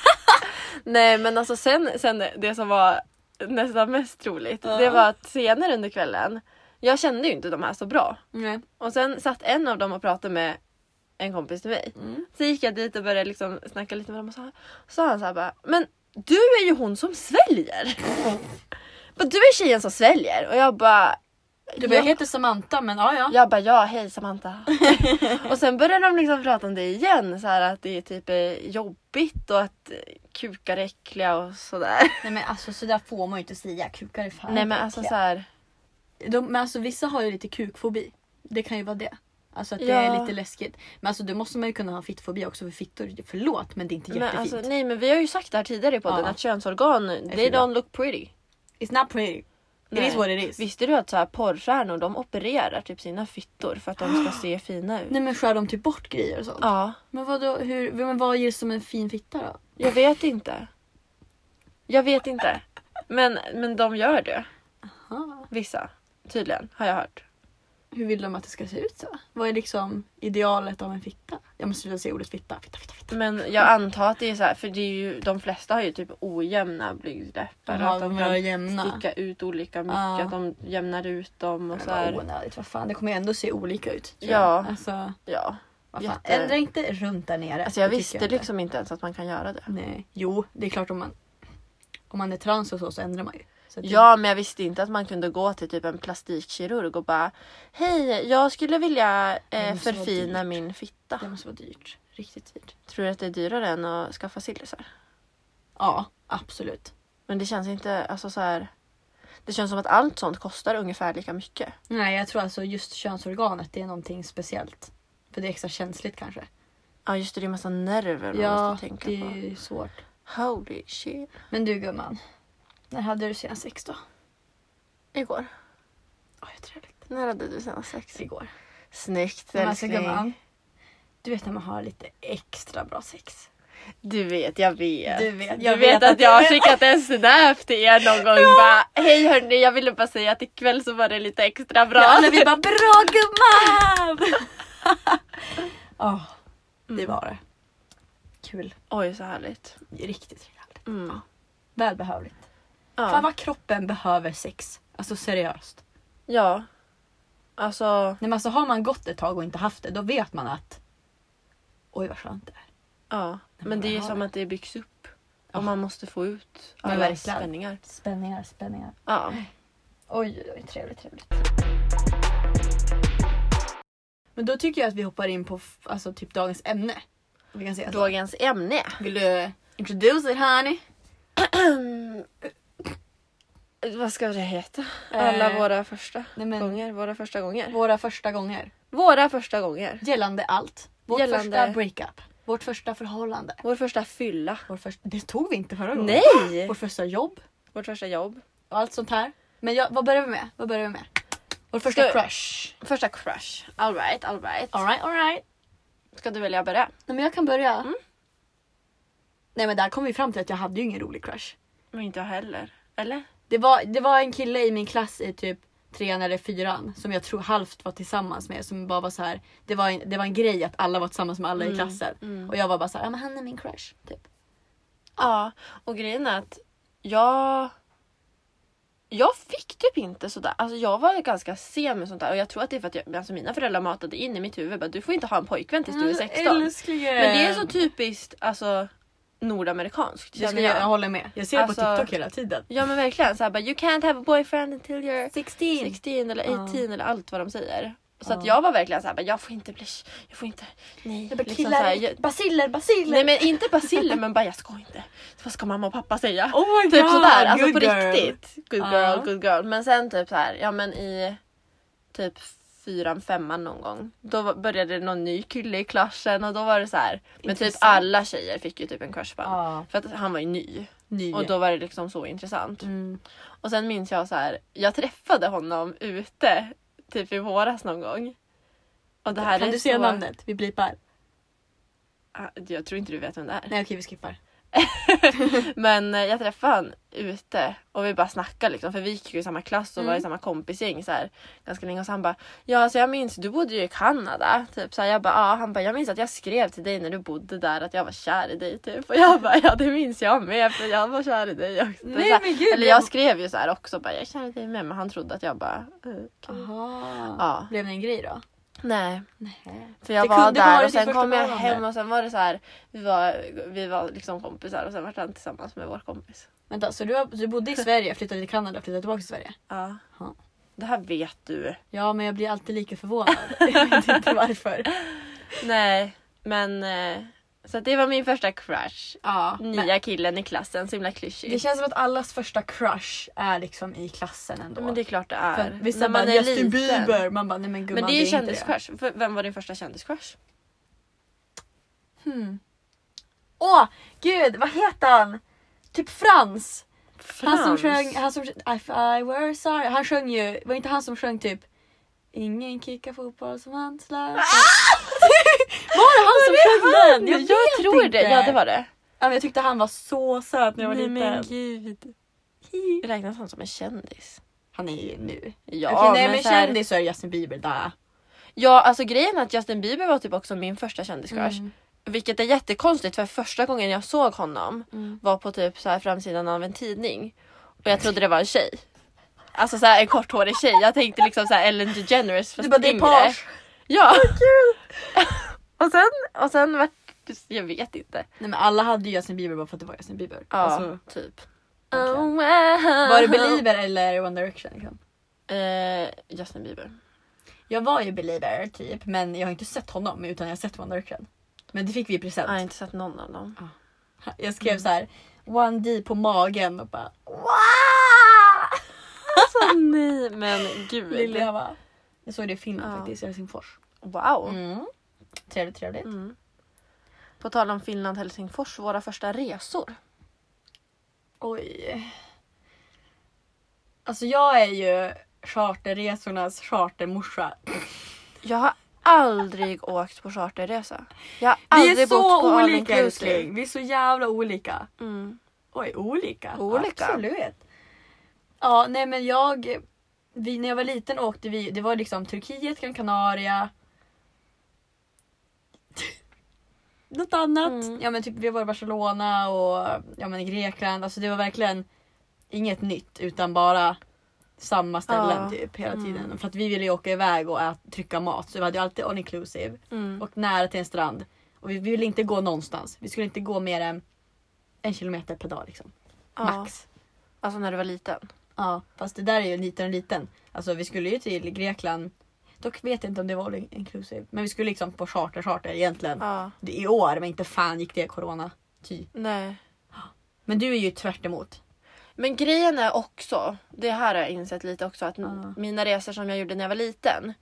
A: Nej men alltså sen, sen det som var nästan mest troligt,
B: Ja.
A: det var att senare under kvällen, jag kände ju inte de här så bra.
B: Nej.
A: Och sen satt en av dem och pratade med en kompis till mig.
B: Mm.
A: Så gick jag dit och började liksom snacka lite med dem och så så sa han så här bara Men du är ju hon som sväljer! Bara, du är tjejen som sväljer! Och jag bara
B: Du bara, jag
A: ja.
B: heter Samantha men ja ja.
A: Jag bara ja, hej Samantha. och sen började de liksom prata om det igen. Så här att det typ är jobbigt och att eh, kukar är äckliga och sådär.
B: Nej men alltså sådär får man ju inte säga. Kukar är fan
A: Nej men alltså så
B: äckliga.
A: här.
B: De, men alltså vissa har ju lite kukfobi. Det kan ju vara det. Alltså att det är
A: Ja.
B: lite läskigt. Men alltså då måste man ju kunna ha fittfobi också för fittor, förlåt men det är inte
A: Men,
B: jättefint.
A: alltså, nej men vi har ju sagt det här tidigare i podden
B: Ja.
A: att könsorgan, they
B: fula.
A: don't look pretty.
B: It's not pretty. It
A: Nej.
B: is what it is.
A: Visste du att så här, porrstjärnor de opererar typ sina fittor för att de ska se fina ut?
B: Nej men skär de typ bort grejer och sånt?
A: Ja,
B: Men vad då, hur, men vad ger som en fin fitta då?
A: jag vet inte. Jag vet inte. Men, men de gör det.
B: Aha.
A: Vissa. Tydligen, har jag hört.
B: Hur vill de att det ska se ut så? Vad är liksom idealet av en fitta? Jag måste sluta säga ordet fitta. Fitta, fitta, fitta.
A: Men jag antar att det är så här, för det är ju, de flesta har ju typ ojämna blygdläppar.
B: Jaha,
A: att de
B: de gör
A: kan
B: jämna.
A: sticka ut olika mycket,
B: Ja.
A: att de jämnar ut dem och
B: Men
A: så
B: vad
A: här.
B: onödigt, vad fan. Det kommer ju ändå se olika ut. tror
A: Ja.
B: jag. Alltså,
A: Ja.
B: vad fan.
A: Jätte-
B: Ändra inte runt där nere.
A: Alltså jag
B: Det tycker
A: visste
B: inte.
A: liksom inte ens att man kan göra det.
B: Nej. Jo, det är klart om man, om man är trans och så, så ändrar man ju. Så att det-
A: Ja, men jag visste inte att man kunde gå till typ en plastikkirurg och bara Hej, jag skulle vilja eh,
B: måste vara
A: förfina
B: dyrt.
A: min fitta.
B: Det måste vara dyrt. Riktigt dyrt.
A: Tror du att det är dyrare än att skaffa sillisar?
B: Ja, absolut.
A: Men det känns inte, alltså så här. Det känns som att allt sånt kostar ungefär lika mycket.
B: Nej, jag tror alltså just könsorganet det är någonting speciellt. För det är extra känsligt kanske.
A: Ja just det, det är massa nerver man
B: ja,
A: måste tänka
B: det är
A: på.
B: ju svårt.
A: Holy shit.
B: Men du gumman. När hade du senast sex då?
A: Igår.
B: Oj, vad trevligt.
A: När hade du senast sex?
B: Igår.
A: Snyggt
B: Men alltså gumman.
A: älskling.
B: Du vet när man har lite extra bra sex.
A: Du vet, jag vet.
B: Du vet,
A: Jag vet att jag har skickat en snap till er någon gång bara Hej hörni, jag ville bara säga att ikväll så var det lite extra bra.
B: Ja, när vi bara bra gumman! Ja, det var det. Kul.
A: Oj så härligt.
B: Riktigt trevligt.
A: Mm.
B: Välbehövligt. Fan
A: Ja.
B: vad kroppen behöver sex. Alltså seriöst.
A: ja. Alltså,
B: Nej, men alltså, har man gått ett tag och inte haft det, då vet man att oj vad skönt det är.
A: ja. Men det är ju som att det byggs upp. Och man måste få ut
B: Men
A: alla
B: verkligen.
A: spänningar.
B: Spänningar, spänningar.
A: Ja.
B: Oj, oj, oj, trevligt, trevligt. Men då tycker jag att vi hoppar in på f- alltså, typ dagens ämne. Vi kan säga så.
A: Dagens ämne.
B: Vill du introduce it honey?
A: Ehm, Vad ska det heta? Alla
B: Eh,
A: våra första
B: nej, men-
A: gånger. Våra första gånger.
B: Våra första gånger.
A: Våra första gånger.
B: Gällande allt. Vårt
A: Gällande-
B: första breakup. Vårt första förhållande.
A: Vår första fylla.
B: Vårt första... Det tog vi inte förra gången.
A: Nej!
B: Vårt första jobb.
A: Vårt första jobb.
B: och allt sånt här. Men jag, vad börjar vi med? Vad börjar vi med? Vår första
A: Ska-
B: crush.
A: Första crush. Alright, alright.
B: Alright, alright. Mm.
A: Ska du välja börja?
B: Nej men jag kan börja. Nej men där kom vi fram till att jag hade ju ingen rolig crush.
A: Men inte jag heller. Eller?
B: Det var, det var en kille i min klass i typ trean eller fyran som jag tror halvt var tillsammans med som bara var så här. Det var en, det var en grej att alla var tillsammans med alla
A: Mm,
B: i klassen. Och jag var bara så här, ja men han är min crush. Typ.
A: Ja, och grejen är att jag... Jag fick typ inte sådär. Alltså jag var ju ganska sen med sånt där och jag tror att det är för att jag, alltså mina föräldrar matade in i mitt huvud bara du får inte ha en pojkvän tills du är 16.
B: Älsklingen.
A: Men Mm, det är så typiskt alltså nordamerikanskt
B: Det
A: känner
B: skulle jag, jag
A: jag.
B: håller med. Jag ser det på
A: Alltså-
B: TikTok hela tiden.
A: Ja men verkligen såhär bara you can't have a boyfriend until you're
B: 16.
A: 16 eller 18 eller allt vad de säger. Så att
B: Ja.
A: jag var verkligen såhär bara jag får inte bli, jag får inte, nej.
B: Jag bara,
A: liksom
B: killar,
A: såhär, jag,
B: basiller, basiller.
A: Nej men inte basiller men bara jag ska inte. Vad ska mamma och pappa säga?
B: Oh my
A: typ
B: god,
A: sådär, alltså på
B: good girl.
A: riktigt. Good
B: Ja.
A: girl, good girl. Men sen typ såhär, ja men i typ fyran, femman någon gång. Då var- började det någon ny kille i klassen och då var det så här. Men typ
B: Intressant.
A: alla tjejer fick ju typ en crush på honom.
B: Ja.
A: För att han var ju ny.
B: Ny.
A: Och då var det liksom så intressant.
B: Mm.
A: Och sen minns jag så här, jag träffade honom ute typ i våras någon gång. Och det här
B: kan
A: är
B: du säga
A: så...
B: namnet? Vi blipar.
A: Ah, Jag tror inte du vet vem det är.
B: Nej okej vi skippar.
A: Men eh, jag träffade han ute och vi bara snackade liksom för vi gick ju i samma klass och
B: Mm.
A: var i samma kompisgäng så här, ganska länge och så han bara ja alltså jag minns du bodde ju i Kanada typ så här, jag bara ja han bara jag minns att jag skrev till dig när du bodde där att jag var kär i dig typ och jag bara ja det minns jag med för jag var kär i dig också.
B: Nej,
A: Så här,
B: men gud,
A: Eller
B: det-
A: jag skrev ju så här också bara jag är kär i dig med men han trodde att jag bara eh,
B: Ah.
A: okej.
B: Aha.
A: Ja.
B: Blev det en grej då?
A: Nej.
B: Nej.
A: För jag
B: Det
A: var
B: kunde varit
A: där och
B: ditt
A: sen
B: första
A: kom jag
B: förhållande.
A: hem och sen var det så här vi var, vi var liksom kompisar och sen var han tillsammans med vår kompis.
B: Vänta så du, har- du bodde i Sverige, flyttade till Kanada, flyttade tillbaka till Sverige?
A: Ja.
B: Ja.
A: Det här vet du.
B: Ja men jag blir alltid lika förvånad. jag vet inte varför.
A: Nej, men eh, Så att det var min första crush.
B: Ja, men
A: Nya killen i klassen, så himla
B: det
A: klyschigt.
B: känns som att allas första crush är liksom i klassen ändå.
A: Men det är klart det är.
B: För vissa bara Justin Bieber, man bara nej men gumman
A: Men det
B: är
A: är ju
B: inte
A: kändiscrush. För Vem var din första kändiscrush?
B: Hmm. Åh gud, vad heter han? Typ Frans. Han som
A: Frans.
B: sjöng, han som, if I were sorry. Han sjöng ju, var inte han som sjöng typ Ingen kickar fotboll som han slår. var Ah! det han som sjöng den?
A: Jag, tror det. Ja det var det.
B: Ja, men jag tyckte han var så söt när jag var liten.
A: gud. Räknas han som en kändis?
B: Han är ju nu.
A: Ja,
B: Okej, nej men,
A: så här-
B: kändis så är det Justin Bieber där.
A: Ja, alltså grejen är att Justin Bieber var typ också min första kändiscrush.
B: Mm.
A: Vilket är jättekonstigt för första gången jag såg honom var på typ så här framsidan av en tidning. Och jag trodde det var en tjej. Alltså så här, en korthårig tjej. Jag tänkte liksom så här Ellen DeGeneres fast
B: Du bara det är
A: yngre.
B: page.
A: Ja. och sen, och sen vart jag vet inte.
B: Nej men alla hade ju Justin Bieber bara för att det var Justin Bieber.
A: Ja,
B: Alltså,
A: typ.
B: verkligen.
A: wow.
B: var det Belieber eller One Direction? Liksom?
A: Eh, Justin Bieber.
B: Jag var ju Belieber typ men jag har inte sett honom utan jag har sett One Direction. Men det fick vi i present.
A: Jag har inte sett någon av dem.
B: Jag skrev så här One D på magen och bara wow!
A: Alltså nej men gud.
B: Lille jag bara. Jag såg det i Finland
A: Ja.
B: faktiskt, i Helsingfors.
A: Wow.
B: Mm. Trevligt trevligt.
A: Mm. På tal om Finland Helsingfors, våra första resor.
B: Oj. Alltså jag är ju charterresornas chartermorsa.
A: Jag har aldrig åkt på charterresa. Jag har
B: Vi
A: aldrig
B: är
A: bott på
B: så
A: all
B: olika
A: inclusive.
B: älskling. Vi är så jävla olika.
A: Mm.
B: Oj, olika?
A: Olika.
B: Absolut. Ja, nej men jag... Vi, när jag var liten åkte vi, det var liksom Turkiet, Gran Canaria. Något annat.
A: Mm.
B: Ja men typ vi var i Barcelona och ja, men i Grekland. Alltså det var verkligen inget nytt utan bara samma ställen
A: Ja.
B: typ hela
A: Mm.
B: tiden. För att vi ville ju åka iväg och ät, trycka mat så vi hade ju alltid all inclusive
A: Mm.
B: och nära till en strand. Och vi, vi ville inte gå någonstans. Vi skulle inte gå mer än en kilometer per dag liksom.
A: Ja.
B: Max.
A: Alltså när du var liten.
B: Ja, fast det där är ju liten och liten. Alltså vi skulle ju till Grekland. Dock vet jag inte om det var all inclusive. Men vi skulle liksom på charter charter egentligen.
A: Ja.
B: Det- I år, men inte fan gick det corona. Ty.
A: Nej.
B: Men du är ju tvärt emot.
A: Men grejen är också, det här har jag insett lite också, att
B: Ja.
A: mina resor som jag gjorde när jag var liten,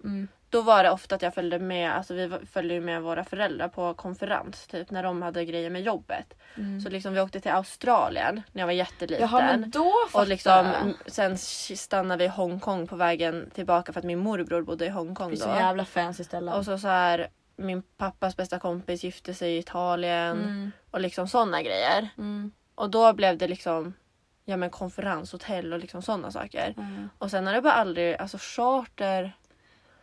A: då var det ofta att jag följde med, alltså vi var- följde ju med våra föräldrar på konferens typ när de hade grejer med jobbet. Så liksom vi åkte till Australien när jag var jätteliten.
B: Jaha men då fattar
A: och liksom,
B: jag.
A: m- sen stannade vi i Hongkong på vägen tillbaka för att min morbror bodde i Hongkong
B: Det är så
A: då.
B: jävla fancy ställen.
A: Och så, så här, min pappas bästa kompis gifte sig i Italien
B: mm.
A: och liksom sådana grejer.
B: Mm.
A: Och då blev det liksom ja, men konferenshotell och liksom sådana saker.
B: Mm.
A: Och sen har det bara aldrig, alltså charter.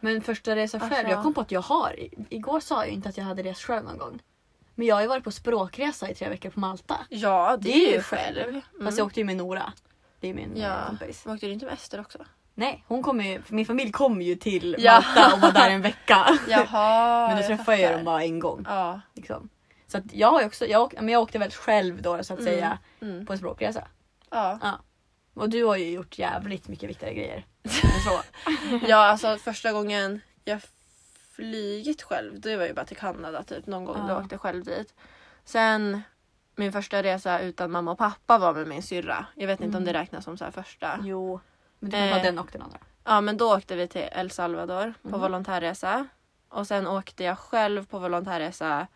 B: Men första resan själv,
A: Alltså-
B: jag kom på att jag har. i- Igår sa jag ju inte att jag hade rest själv någon gång. Men jag har ju varit på språkresa i tre veckor på Malta.
A: Ja det, är ju själv. Mm.
B: Fast jag åkte ju med Nora. Det är min eh,
A: Ja.
B: kompis.
A: Åkte du inte med Ester också?
B: Nej, hon kom ju, för min familj kom ju till
A: Ja.
B: Malta och var där en vecka.
A: Jaha.
B: men då träffade jag ju dem
A: fattar.
B: bara en gång.
A: Ja.
B: Liksom. Så att jag, har ju också, jag, åk- men jag åkte väl själv då så att
A: Mm.
B: säga
A: Mm.
B: på en språkresa.
A: Ja.
B: Och du har ju gjort jävligt mycket viktigare grejer. än så.
A: ja, alltså första gången jag flygit själv, det var ju bara till Kanada typ någon gång. Då
B: Ja.
A: åkte jag själv dit. Sen min första resa utan mamma och pappa var med min syrra. Jag vet inte om
B: Mm.
A: det räknas som så här första.
B: Jo. Men du kan ta
A: Eh.
B: den och den andra.
A: Ja men då åkte vi till El Salvador på
B: Mhm.
A: volontärresa. Och sen åkte jag själv på volontärresa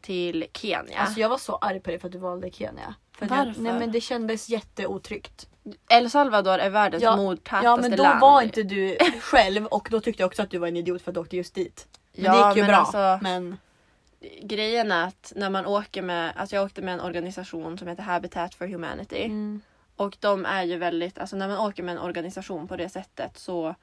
A: till Kenya.
B: Alltså jag var så arg på dig för att du valde Kenya. För att
A: Varför?
B: Jag, nej men det kändes jätteotryggt.
A: El Salvador är världens
B: Ja,
A: mordtätaste
B: Ja
A: land.
B: men då var inte du själv och då tyckte jag också att du var en idiot för att du åkte just dit. Men
A: Ja,
B: det gick ju
A: men
B: bra.
A: alltså-
B: Men
A: grejen är att när man åker med, alltså jag åkte med en organisation som heter Habitat for Humanity. Och de är ju väldigt, alltså när man åker med en organisation på det sättet så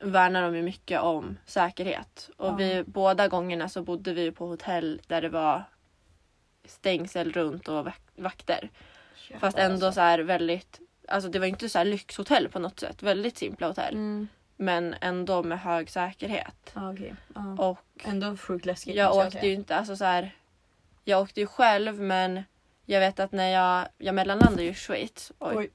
A: värnar de ju mycket om säkerhet. Och
B: Ja.
A: vi, båda gångerna så bodde vi ju på hotell där det var stängsel runt och vak- vakter. Fast
B: alltså.
A: ändå så här väldigt, alltså det var inte så här lyxhotell på något sätt. Väldigt simpla hotell.
B: Mm.
A: Men ändå med hög säkerhet.
B: Ja, okej. Ja.
A: Och
B: Ändå sjukt läskigt.
A: jag
B: måste
A: åkte
B: säga.
A: ju inte, alltså så här, jag åkte ju själv men jag vet att när jag, jag mellanlandade ju i Schweiz oj,
B: Oj.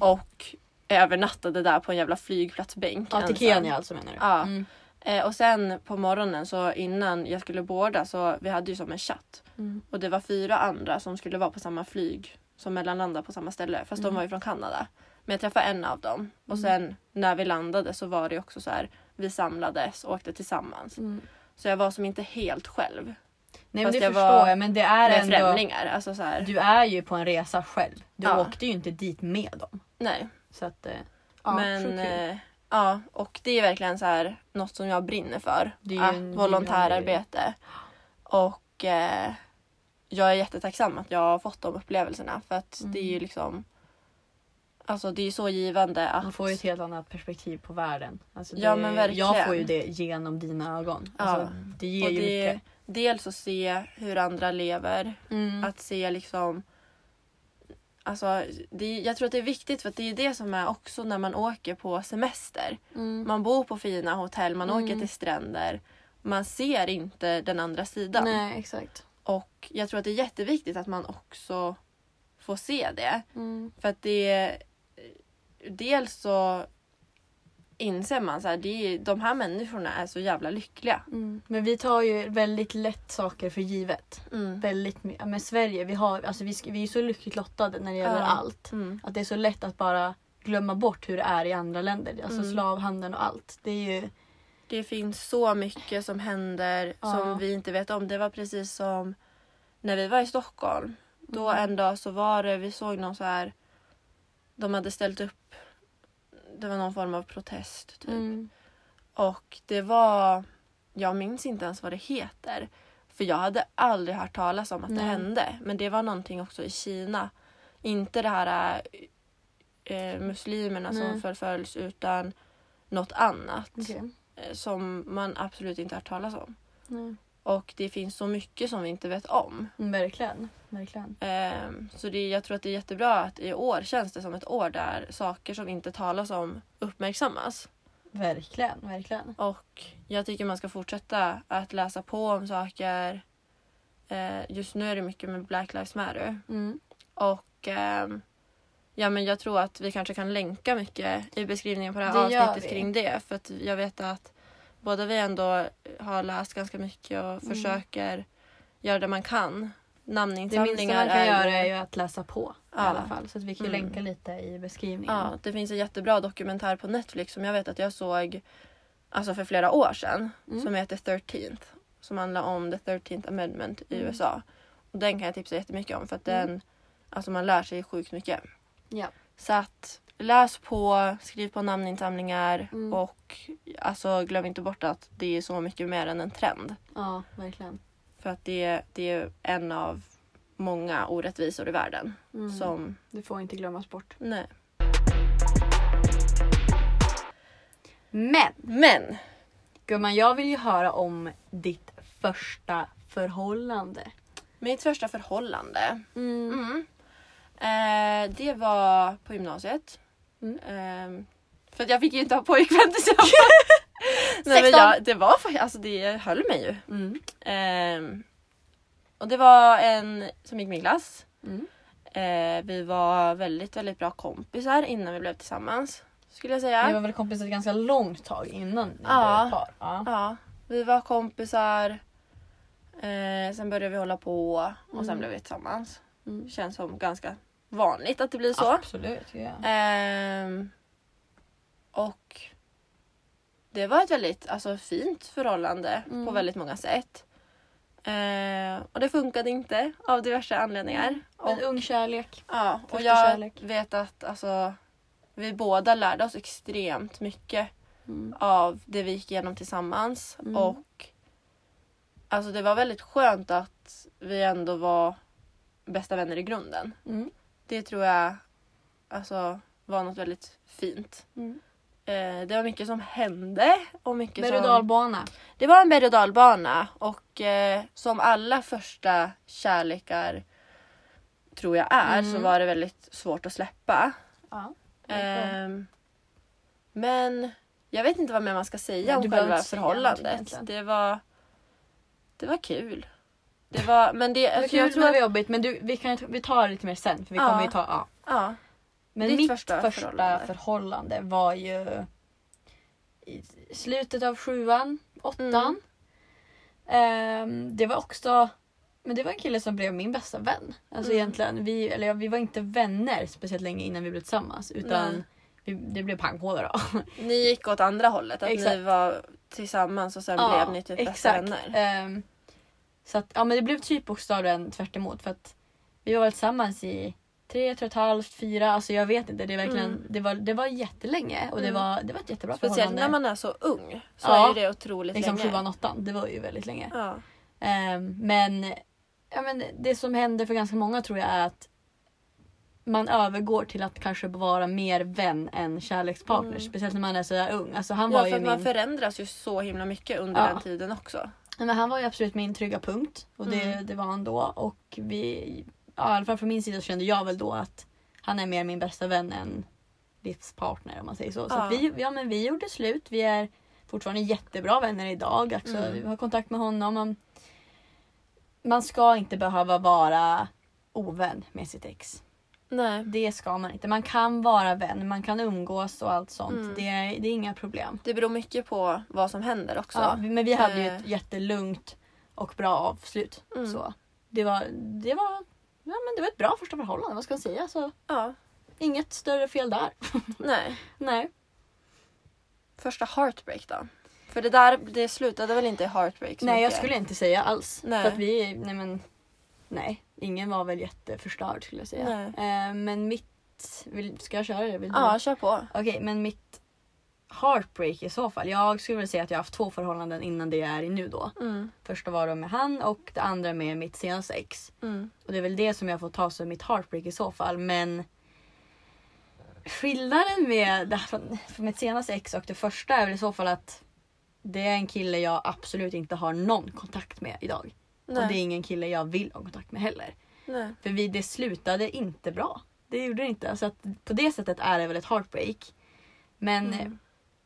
A: och övernattade där på en jävla flygplatsbänk.
B: Ja, till
A: ensam.
B: Kenya alltså menar du?
A: Ja.
B: Mm.
A: Eh, och sen på morgonen så innan jag skulle boarda så vi hade ju som en chatt.
B: Mm.
A: Och det var fyra andra som skulle vara på samma flyg som mellanlandade på samma ställe. Fast
B: Mm.
A: de var ju från Kanada. Men jag träffade en av dem. Och sen när vi landade så var det ju också så här. Vi samlades och åkte tillsammans.
B: Mm.
A: Så jag var som inte helt själv.
B: Nej men
A: Fast
B: det
A: jag
B: förstår
A: var
B: jag men det är
A: med
B: ändå...
A: främlingar. Alltså så här,
B: Du är ju på en resa själv. Du
A: Ja.
B: åkte ju inte dit med dem.
A: nej.
B: Så att... eh, Ja,
A: Men
B: sjukt kul.
A: eh, ja, och det är verkligen så här, något som jag brinner för.
B: Det är ju
A: att
B: en
A: volontärarbete. Och eh, jag är jättetacksam att jag har fått de upplevelserna. För att det är ju
B: Mm.
A: liksom... Alltså det är ju så givande att...
B: Man får ju ett helt annat perspektiv på världen. Alltså
A: Ja,
B: det,
A: men verkligen.
B: Jag får ju det genom dina ögon.
A: Ja.
B: Alltså, det ger
A: och
B: ju
A: det,
B: mycket.
A: dels att se hur andra lever.
B: Mm.
A: Att se liksom... Alltså, det, är- jag tror att det är viktigt för att det är det som är också när man åker på semester.
B: Mm.
A: Man bor på fina hotell, man
B: Mm.
A: åker till stränder. Man ser inte den andra sidan.
B: Nej exakt.
A: Och jag tror att det är jätteviktigt att man också får se det.
B: Mm.
A: För att det... Dels så inser man så här, det är, de här människorna är så jävla lyckliga.
B: Mm. Men vi tar ju väldigt lätt saker för givet.
A: Mm.
B: Väldigt, my- ja, men Sverige, vi, har, alltså, vi, sk- vi är så lyckligt lottade när det gäller
A: Ja.
B: allt.
A: Mm.
B: Att det är så lätt att bara glömma bort hur det är i andra länder. Alltså
A: Mm.
B: slavhandeln och allt. Det är ju...
A: Det finns så mycket som händer
B: Ja.
A: som vi inte vet om. Det var precis som när vi var i Stockholm. Då
B: Mm.
A: en dag så var det, vi såg någon så här, de hade ställt upp, det var någon form av protest typ.
B: Mm.
A: Och det var, jag minns inte ens vad det heter. För jag hade aldrig hört talas om att
B: Nej.
A: det hände. Men det var någonting också i Kina. Inte det här eh, muslimerna
B: Nej.
A: som förföljs utan något annat
B: Okej.
A: eh, som man absolut inte har hört talas om.
B: Nej.
A: Och det finns så mycket som vi inte vet om.
B: Mm, Verkligen. Verkligen.
A: Ehm, Så det, jag tror att det är jättebra att i år känns det som ett år där saker som inte talas om uppmärksammas.
B: Verkligen. Verkligen.
A: Och jag tycker man ska fortsätta att läsa på om saker. Eh, Just nu är det mycket med Black Lives Matter.
B: Mm.
A: Och ehm, ja, men jag tror att vi kanske kan länka mycket i beskrivningen på det här
B: Det gör
A: avsnittet
B: vi.
A: kring det. För att jag vet att båda vi ändå har läst ganska mycket och försöker göra det man kan.
B: Mm. Det minsta
A: Namninsamlingar
B: man kan göra är
A: ju-
B: ju att läsa på
A: Ja.
B: i alla fall. Så att vi kan ju
A: Mm.
B: länka lite i beskrivningen.
A: Ja, det finns en jättebra dokumentär på Netflix som jag vet att jag såg alltså för flera år sedan.
B: Mm.
A: Som heter 13th. Som handlar om the 13th amendment
B: Mm.
A: i USA. Och den kan jag tipsa jättemycket om för att den, alltså man lär sig sjukt mycket.
B: Ja.
A: Så att läs på, skriv på namninsamlingar
B: Mm.
A: och alltså, glöm inte bort att det är så mycket mer än en trend.
B: ja, verkligen.
A: För att det, det är en av många orättvisor i världen.
B: Mm.
A: Som,
B: Det får inte glömmas bort.
A: nej.
B: Men
A: Men!
B: gumman, jag vill ju höra om ditt första förhållande.
A: Mitt första förhållande,
B: Mm.
A: mm, eh, det var på gymnasiet.
B: Mm.
A: Eh, för att jag fick ju inte ha pojkvän tills jag var... nej, men jag, det var faktiskt, alltså det höll mig ju.
B: Mm.
A: Ehm, och det var en som gick min klass.
B: Mm.
A: Eh, vi var väldigt, väldigt bra kompisar innan vi blev tillsammans. Skulle jag säga.
B: Ni var väl kompisar ett ganska långt tag innan ni
A: Ja.
B: blev ett par? Ja.
A: Ja, vi var kompisar. Eh, sen började vi hålla på och sen blev vi tillsammans.
B: Mm.
A: Känns som ganska vanligt att det blir så.
B: Absolut. Ja.
A: Ehm, och det var ett väldigt alltså, fint förhållande
B: Mm.
A: på väldigt många sätt. Ehm, och det funkade inte av diverse anledningar. Och,
B: En ung kärlek.
A: ja, och
B: första
A: jag
B: kärlek.
A: vet att alltså, vi båda lärde oss extremt mycket av det vi gick igenom tillsammans.
B: Mm.
A: Och alltså, det var väldigt skönt att vi ändå var bästa vänner i grunden.
B: Mm.
A: Det tror jag alltså, var något väldigt fint.
B: Mm.
A: Eh, det var mycket som hände. Och mycket
B: Berg och
A: som...
B: dalbana.
A: Det var en berg och dalbana. Och eh, som alla första kärlekar tror jag är så
B: Mm.
A: var det väldigt svårt att släppa.
B: Ja.
A: Ehm, men jag vet inte vad mer man ska säga
B: Nej, du
A: om
B: behöver
A: själva
B: inte säga någonting
A: förhållandet.
B: egentligen.
A: Det var, det var kul. Det var, men det,
B: Det var
A: alltså,
B: kul
A: jag tror
B: men det
A: att,
B: var jobbigt men du, vi, kan, vi tar det lite mer sen. För vi
A: Ja.
B: kommer ju ta, ja.
A: ja,
B: Men
A: Ditt
B: mitt första
A: första
B: förhållande.
A: förhållande.
B: var ju... i slutet av sjuan, åttan.
A: Mm.
B: Ehm, det var också men det var en kille som blev min bästa vän. Alltså
A: Mm.
B: egentligen, vi, eller ja, vi var inte vänner speciellt länge innan vi blev tillsammans.
A: Nej.
B: Utan vi, det blev panghåla då.
A: Ni gick åt andra hållet, att
B: Exakt.
A: ni var tillsammans och sen
B: Ja,
A: blev ni typ bästa vänner.
B: Ehm, så att, ja, men det blev typ bokstavligen tvärt emot för att vi var väl tillsammans i tre, tre och ett halvt, fyra, alltså jag vet inte. Det, är verkligen,
A: Mm.
B: det, var, det var jättelänge och det,
A: Mm.
B: var, det var ett jättebra
A: Speciellt
B: förhållande.
A: när man är så ung så
B: Ja,
A: är ju det otroligt
B: liksom
A: länge.
B: sjuan, åttan, det var ju väldigt länge.
A: Ja.
B: Ehm, men, ja, men det som händer för ganska många tror jag är att man övergår till att kanske vara mer vän än kärlekspartner.
A: Mm.
B: Speciellt när man är så där ung. Alltså, han,
A: Ja,
B: var
A: för
B: ju
A: att man
B: min,
A: förändras ju så himla mycket under
B: Ja.
A: den tiden också.
B: men han var ju absolut min trygga punkt. Och det,
A: Mm.
B: det var han då. Och vi, ja, i alla fall från min sida så kände jag väl då att han är mer min bästa vän än livspartner om man säger så. Så
A: Ja.
B: att vi, ja, men vi gjorde slut. Vi är fortfarande jättebra vänner idag. Alltså,
A: Mm.
B: Vi har kontakt med honom. Man, man ska inte behöva vara ovän med sitt ex.
A: Nej.
B: Det ska man inte. Man kan vara vän, man kan umgås och allt sånt.
A: Mm.
B: Det, är, det är inga problem.
A: Det beror mycket på vad som händer också.
B: Ja, vi- men vi hade ju ett
A: Eh.
B: jättelugnt och bra avslut.
A: Mm.
B: Så. Det, var, det, var, ja, men det var ett bra första förhållande, vad ska man säga? Så,
A: Ja,
B: inget större fel där.
A: nej.
B: Nej.
A: Första heartbreak då? För det där det slutade väl inte i heartbreak? så
B: Nej jag
A: mycket?
B: skulle inte säga alls.
A: Nej.
B: För att vi, nej men. Nej, ingen var väl jätteförstörd skulle jag säga.
A: Nej.
B: Eh, men mitt, vill, ska jag köra det? Vill du?
A: Ja, kör på.
B: Okej, men mitt heartbreak i så fall. Jag skulle väl säga att jag har haft två förhållanden innan det jag är i nu då.
A: Mm,
B: Första var då med han och det andra med mitt senaste ex.
A: mm,
B: Och det är väl det som jag får ta som mitt heartbreak i så fall. Men skillnaden med det här från, från mitt senaste ex och det första är väl i så fall att det är en kille jag absolut inte har någon kontakt med idag. Och det är
A: nej,
B: ingen kille jag vill ha kontakt med heller.
A: nej.
B: För vi, det slutade inte bra. Det gjorde det inte. Så att på det sättet är det väl ett heartbreak. Men
A: Mm.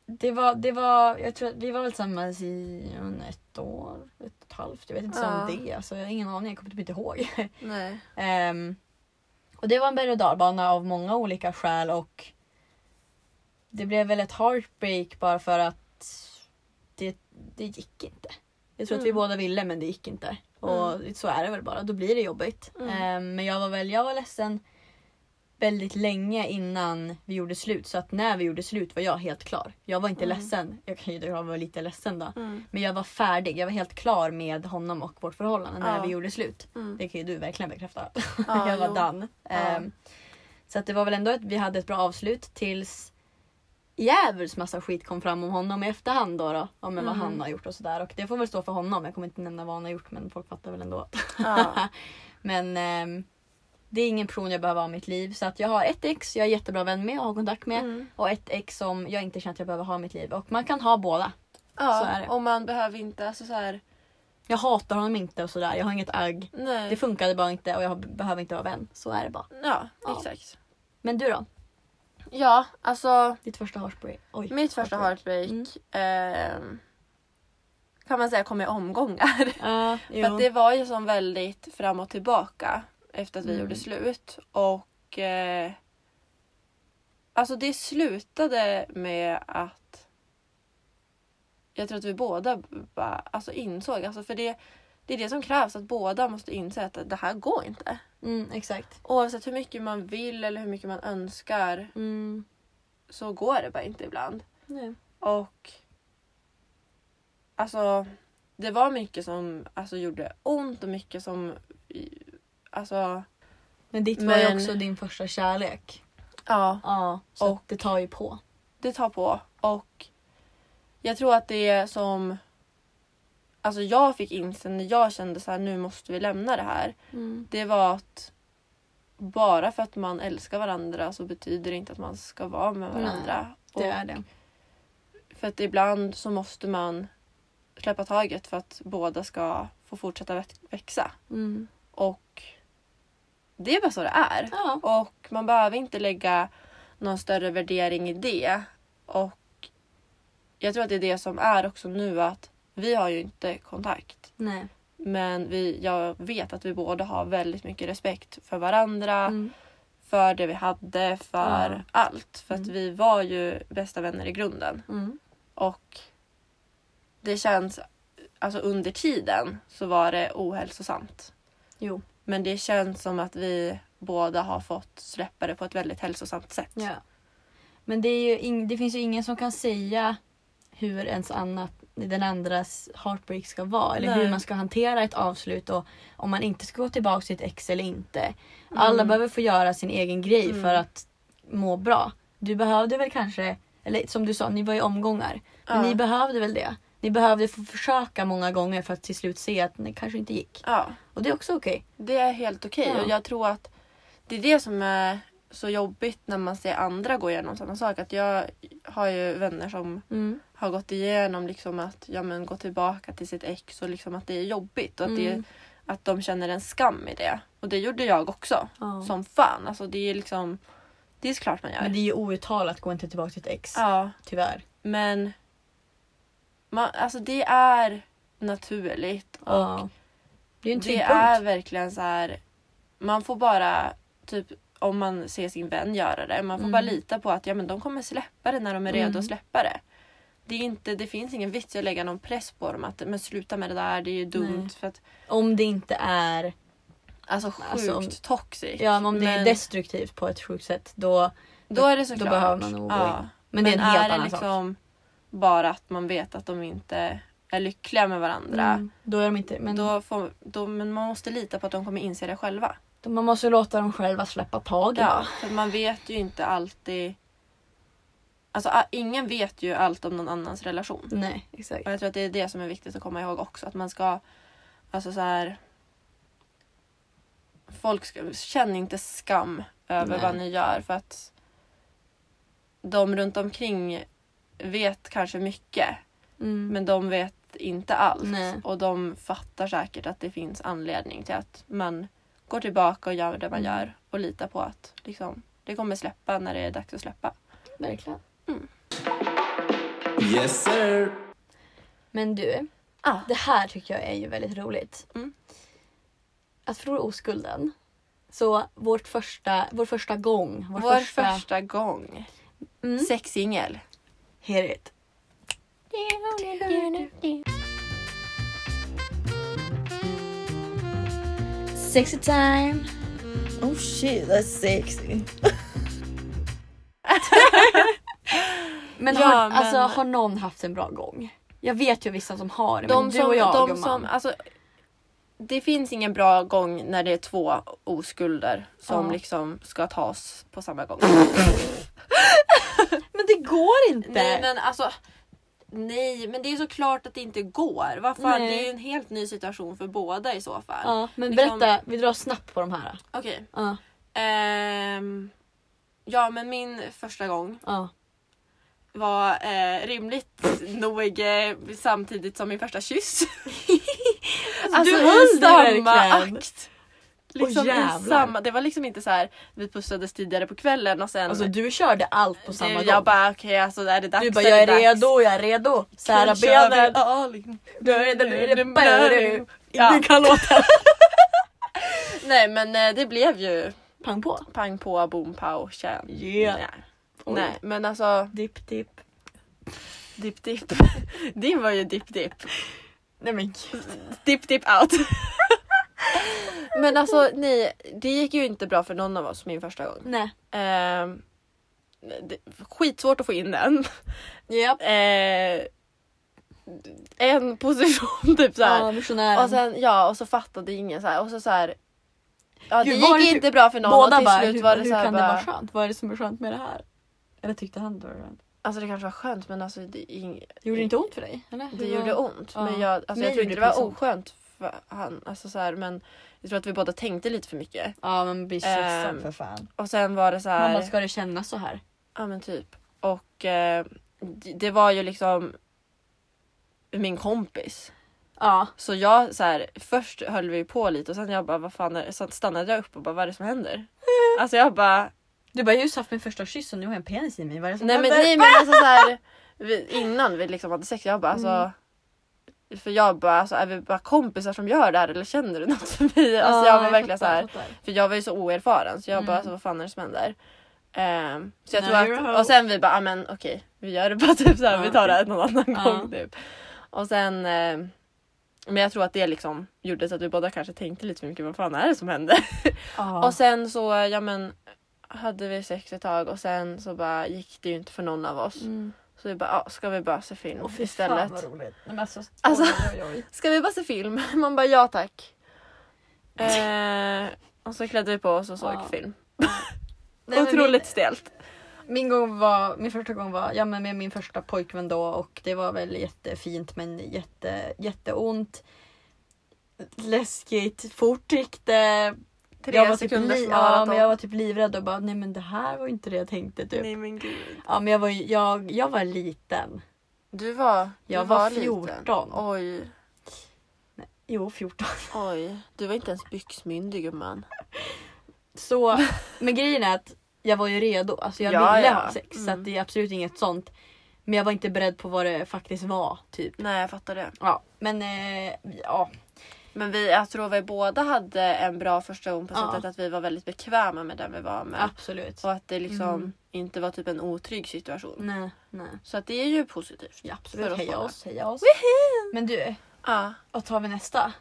B: eh, det var, det var, jag tror att vi var väl tillsammans i ja, men ett år, ett och ett halvt. Jag vet inte så
A: Ja.
B: om det. Alltså, jag har ingen aning, jag kommer typ inte ihåg.
A: nej.
B: Ehm, och det var en berg och dalbana av många olika skäl och det blev väl ett heartbreak bara för att det, det gick inte. Jag tror att vi
A: Mm.
B: båda ville men det gick inte. Och så är det väl bara, då blir det jobbigt.
A: Mm.
B: Ehm, men jag var väl, jag var ledsen väldigt länge innan vi gjorde slut. Så att när vi gjorde slut var jag helt klar. Jag var inte
A: Mm.
B: ledsen. Jag kan ju jag var lite ledsen då.
A: Mm,
B: Men jag var färdig. Jag var helt klar med honom och vårt förhållande när
A: Ja.
B: vi gjorde slut.
A: mm.
B: Det kan ju du verkligen bekräfta.
A: Ja,
B: jag var
A: jo.
B: done.
A: Ja.
B: Ehm, så att det var väl ändå att vi hade ett bra avslut tills djävulskt massa skit kom fram om honom i efterhand då. då om vad
A: Mm.
B: han har gjort och sådär. Och det får väl stå för honom. Jag kommer inte nämna vad han har gjort men folk fattar väl ändå.
A: Ja.
B: Men ehm, det är ingen person jag behöver ha i mitt liv. Så att jag har ett ex jag är jättebra vän med och har kontakt med.
A: Mm.
B: Och ett ex som jag inte känner att jag behöver ha i mitt liv. Och man kan ha båda.
A: Ja,
B: Så är det.
A: och man behöver inte alltså så här,
B: Jag hatar honom inte och sådär. Jag har inget agg.
A: nej.
B: Det funkade bara inte och jag behöver inte vara vän. Så är det bara.
A: ja,
B: Ja.
A: exakt.
B: Men du då?
A: Ja, alltså
B: Ditt första heartbreak? Oj,
A: mitt första heartbreak
B: Mm.
A: ehm, kan man säga kom i omgångar.
B: Ja, jo.
A: För att det var ju som väldigt fram och tillbaka efter att vi
B: Mm.
A: gjorde slut. Och eh, alltså det slutade med att jag tror att vi båda bara, alltså insåg, alltså för det, det är det som krävs att båda måste inse att det här går inte.
B: Mm, exakt.
A: Oavsett hur mycket man vill eller hur mycket man önskar
B: Mm.
A: så går det bara inte ibland.
B: Nej.
A: Och alltså det var mycket som alltså, gjorde ont och mycket som i- alltså
B: Men ditt var ju
A: Men-
B: också din första kärlek.
A: ja,
B: Ja, så
A: Och-
B: och... det tar ju på.
A: det tar på och jag tror att det som alltså jag fick inse när jag kände så här nu måste vi lämna det här.
B: Mm.
A: Det var att bara för att man älskar varandra så betyder det inte att man ska vara med
B: Nej,
A: varandra.
B: Det
A: Och-
B: är det.
A: För att ibland så måste man släppa taget för att båda ska få fortsätta väx- växa.
B: Mm.
A: Och det är bara så det är.
B: Ja.
A: Och man behöver inte lägga någon större värdering i det. Och jag tror att det är det som är också nu att vi har ju inte kontakt.
B: Nej.
A: Men vi, jag vet att vi båda har väldigt mycket respekt för varandra,
B: Mm.
A: för det vi hade, för
B: Ja.
A: allt. För att
B: Mm.
A: vi var ju bästa vänner i grunden.
B: Mm.
A: Och det känns, alltså under tiden så var det ohälsosamt.
B: Jo.
A: Men det känns som att vi båda har fått släppa det på ett väldigt hälsosamt sätt.
B: Ja. Men det, är ju ing- det finns ju ingen som kan säga hur ens annat, den andras heartbreak ska vara eller
A: Nej.
B: hur man ska hantera ett avslut och om man inte ska gå tillbaka till ett ex eller inte. Alla
A: Mm.
B: behöver få göra sin egen grej
A: Mm.
B: för att må bra. Du behövde väl kanske, eller som du sa, ni var i omgångar. Men
A: Ja.
B: ni behövde väl det. Ni behövde få försöka många gånger för att till slut se att det kanske inte gick.
A: Ja.
B: Och det är också okej.
A: Det är helt okej
B: Ja.
A: och jag tror att det är det som är så jobbigt när man ser andra gå igenom samma sak. Att jag har ju vänner som
B: Mm.
A: har gått igenom liksom att ja, men gå tillbaka till sitt ex och liksom att det är jobbigt och att,
B: Mm.
A: det, att de känner en skam i det. Och det gjorde jag också.
B: Ja.
A: Som fan. Alltså det är liksom det är klart man gör.
B: Men det är ju outtalat, gå inte tillbaka till ett ex.
A: Ja,
B: Tyvärr.
A: men man, alltså det är naturligt
B: Ja. Det är ju en
A: Det
B: trygg
A: är
B: punkt.
A: verkligen så här. Man får bara, typ om man ser sin vän göra det, man får
B: Mm.
A: bara lita på att ja, men de kommer släppa det när de är redo
B: Mm.
A: att släppa det. Det, är inte, det finns ingen vits i att lägga någon press på dem att men sluta med det där, det är ju dumt.
B: Nej.
A: För att,
B: Om det inte är
A: alltså sjukt
B: Alltså, om-
A: toxic.
B: Ja, men om det är destruktivt på ett sjukt sätt då...
A: då är det såklart.
B: behöver man nog gå in. Men
A: Men,
B: det är en helt
A: är det
B: annan
A: liksom bara att man vet att de inte är lyckliga med varandra.
B: Mm, då är de inte... Men
A: Då får, då, men man måste lita på att de kommer inse det själva.
B: då- man måste låta dem själva släppa tag i
A: Ja,
B: det.
A: för man vet ju inte alltid... Alltså a- ingen vet ju allt om någon annans relation.
B: Nej, exakt.
A: Och jag tror att det är det som är viktigt att komma ihåg också. Att man ska... Alltså så här... Folk ska, känner inte skam över
B: Nej.
A: vad ni gör för att de runt omkring vet kanske mycket
B: Mm.
A: men de vet inte allt.
B: Nej.
A: Och de fattar säkert att det finns anledning till att man går tillbaka och gör det man
B: Mm.
A: gör och litar på att liksom, det kommer släppa när det är dags att släppa.
B: Verkligen.
C: Yes sir!
B: Men du,
A: Ah.
B: det här tycker jag är ju väldigt roligt.
A: Mm.
B: Att förlora oskulden. Så vårt första, vår första gång. Vår,
A: Vår första, gång.
B: Mm.
A: Sexingel.
B: Hear it. Sexy time.
A: Oh shit, that's sexy.
B: Men,
A: Ja,
B: har,
A: men-
B: Alltså, har någon haft en bra gång? Jag vet ju vissa som har det, men
A: De
B: du
A: som,
B: och jag
A: de
B: gumman.
A: som, alltså, det finns ingen bra gång när det är två oskulder som
B: Ja.
A: liksom ska tas på samma gång.
B: Men det går inte!
A: Nej men alltså. Nej men det är såklart att det inte går. Vad fan,
B: Nej.
A: det är ju en helt ny situation för båda i så fall.
B: ja, men
A: liksom-
B: berätta, vi drar snabbt på de här.
A: Okej.
B: Ja,
A: ehm, ja men min första gång
B: ja.
A: var eh, rimligt nog eh, samtidigt som min första kyss.
B: du
A: i
B: höll dig
A: samma
B: Alltså, verkligen.
A: akt. Liksom
B: Åh,
A: i
B: jävlar.
A: samma, det var liksom inte så här vi pussades tidigare på kvällen och sen
B: Alltså du körde allt på samma
A: du,
B: gång.
A: jag bara okej alltså är det dags?
B: du bara,
A: är
B: jag är
A: det dags?
B: redo, jag är redo. Sära
A: Nu kör vi
B: benen.
A: all in.
B: Du är redo, liksom. du är redo.
A: Ja.
B: Du kan låta.
A: Nej men eh, det blev ju
B: Pang på.
A: pang på boom pow tjän.
B: Yeah.
A: Nej.
B: Oj.
A: Nej men alltså
B: Dipp dipp.
A: dipp dipp. Din var ju dipp dipp.
B: Nej men gud.
A: Dipp dipp out. men alltså nej, det gick ju inte bra för någon av oss min första gång.
B: Nej.
A: Ehm, det, skitsvårt att få in den.
B: Japp.
A: Eh, en position typ såhär.
B: Ja, missionären.
A: Och sen ja och så fattade ingen så här och så så här. Ja
B: Gud,
A: det
B: var det
A: gick
B: typ-
A: inte bra för någon och
B: Båda
A: till
B: bara,
A: slut
B: hur,
A: var det
B: hur
A: så här
B: kan det
A: bara,
B: vara skönt? Vad är det som är skönt med det här? Eller tyckte han det var skönt?
A: Alltså det kanske var skönt men alltså det, ing,
B: Gjorde det inte ont för dig? Eller?
A: det
B: Hur var-
A: gjorde ont.
B: Ja.
A: Men jag, alltså,
B: Mig
A: jag tror inte
B: gjorde
A: det
B: det
A: var
B: precis ont.
A: oskönt för han. Alltså, så här, men jag tror att vi båda tänkte lite för mycket.
B: Ja men bli
A: Ehm,
B: kyssan för fan.
A: Och sen var det så
B: Man
A: här.
B: bara, ska det kännas så här?
A: Ja men typ. Och eh, det, det var ju liksom min kompis.
B: Ja.
A: Så jag så här, först höll vi på lite och sen jag bara vad fan är det? Så stannade jag upp och bara vad är det som händer? Alltså jag bara
B: Du bara, jag har just haft min första kyss och nu har jag en penis i mig. Vad är det som
A: Nej men,
B: händer?
A: nej, men alltså så här, vi, innan vi liksom hade sex, jag bara alltså.
B: Mm.
A: För jag bara, alltså, är vi bara kompisar som gör det här eller känner du något för mig? Alltså, jag Alltså, var verkligen så här,
B: fattar.
A: för jag var ju så oerfaren så jag bara,
B: Mm.
A: alltså, vad fan är det som händer? Ehm, så jag
B: Now
A: tror
B: you're Ah, a
A: att,
B: hoe.
A: och sen vi bara, "Ah, men okej, vi gör det bara typ såhär,
B: Ja.
A: vi tar det här någon annan
B: Ja.
A: gång typ. Och sen, ehm, men jag tror att det liksom gjorde så att vi båda kanske tänkte lite för mycket, vad fan är det som hände?
B: Ja.
A: Och sen så, ja men, hade vi sex ett tag och sen så bara gick det ju inte för någon av oss.
B: Mm.
A: Så vi bara, ja, ska vi bara se film
B: Åh, fy
A: istället?
B: Fan vad roligt. Nej, men alltså,
A: Alltså.
B: oj, oj, oj.
A: Ska vi bara se film? Man bara, ja tack. Eh, och så klädde vi på oss och såg
B: Ja.
A: film.
B: Ah. Nej, men
A: Otroligt stelt.
B: Min, min, gång var, min första gång var ja, men med min första pojkvän då och det var väl jättefint men jätte, jätteont. Läskigt, fort gick det.
A: Tre
B: jag var
A: sekunders
B: typ li- ja,
A: maraton.
B: men Jag var typ livrädd och bara nej men det här var inte det jag tänkte. Typ.
A: Nej men gud.
B: Ja, men jag, var, ju- jag, jag var liten.
A: Du var,
B: Jag
A: du
B: var
A: liten.
B: 14.
A: Oj,
B: Jo 14.
A: oj. Du var inte ens byxmyndig gumman.
B: Så, men grejen är att jag var ju redo. Alltså jag
A: Ja,
B: ville
A: ja.
B: ha sex. Så
A: Mm.
B: att det är absolut inget sånt. Men jag var inte beredd på vad det faktiskt var. Typ.
A: Nej jag fattar det.
B: Ja, men eh, ja.
A: Men vi, jag tror vi båda hade en bra första gång på
B: Ja.
A: sättet att vi var väldigt bekväma med den vi var med.
B: Absolut.
A: Och att det liksom
B: Mm.
A: inte var typ en otrygg situation.
B: Nej, nej.
A: Så att det är ju positivt.
B: Ja,
A: För
B: absolut.
A: oss
B: Heja
A: båda.
B: oss, heja oss. Men du,
A: Ja.
B: vad tar vi nästa?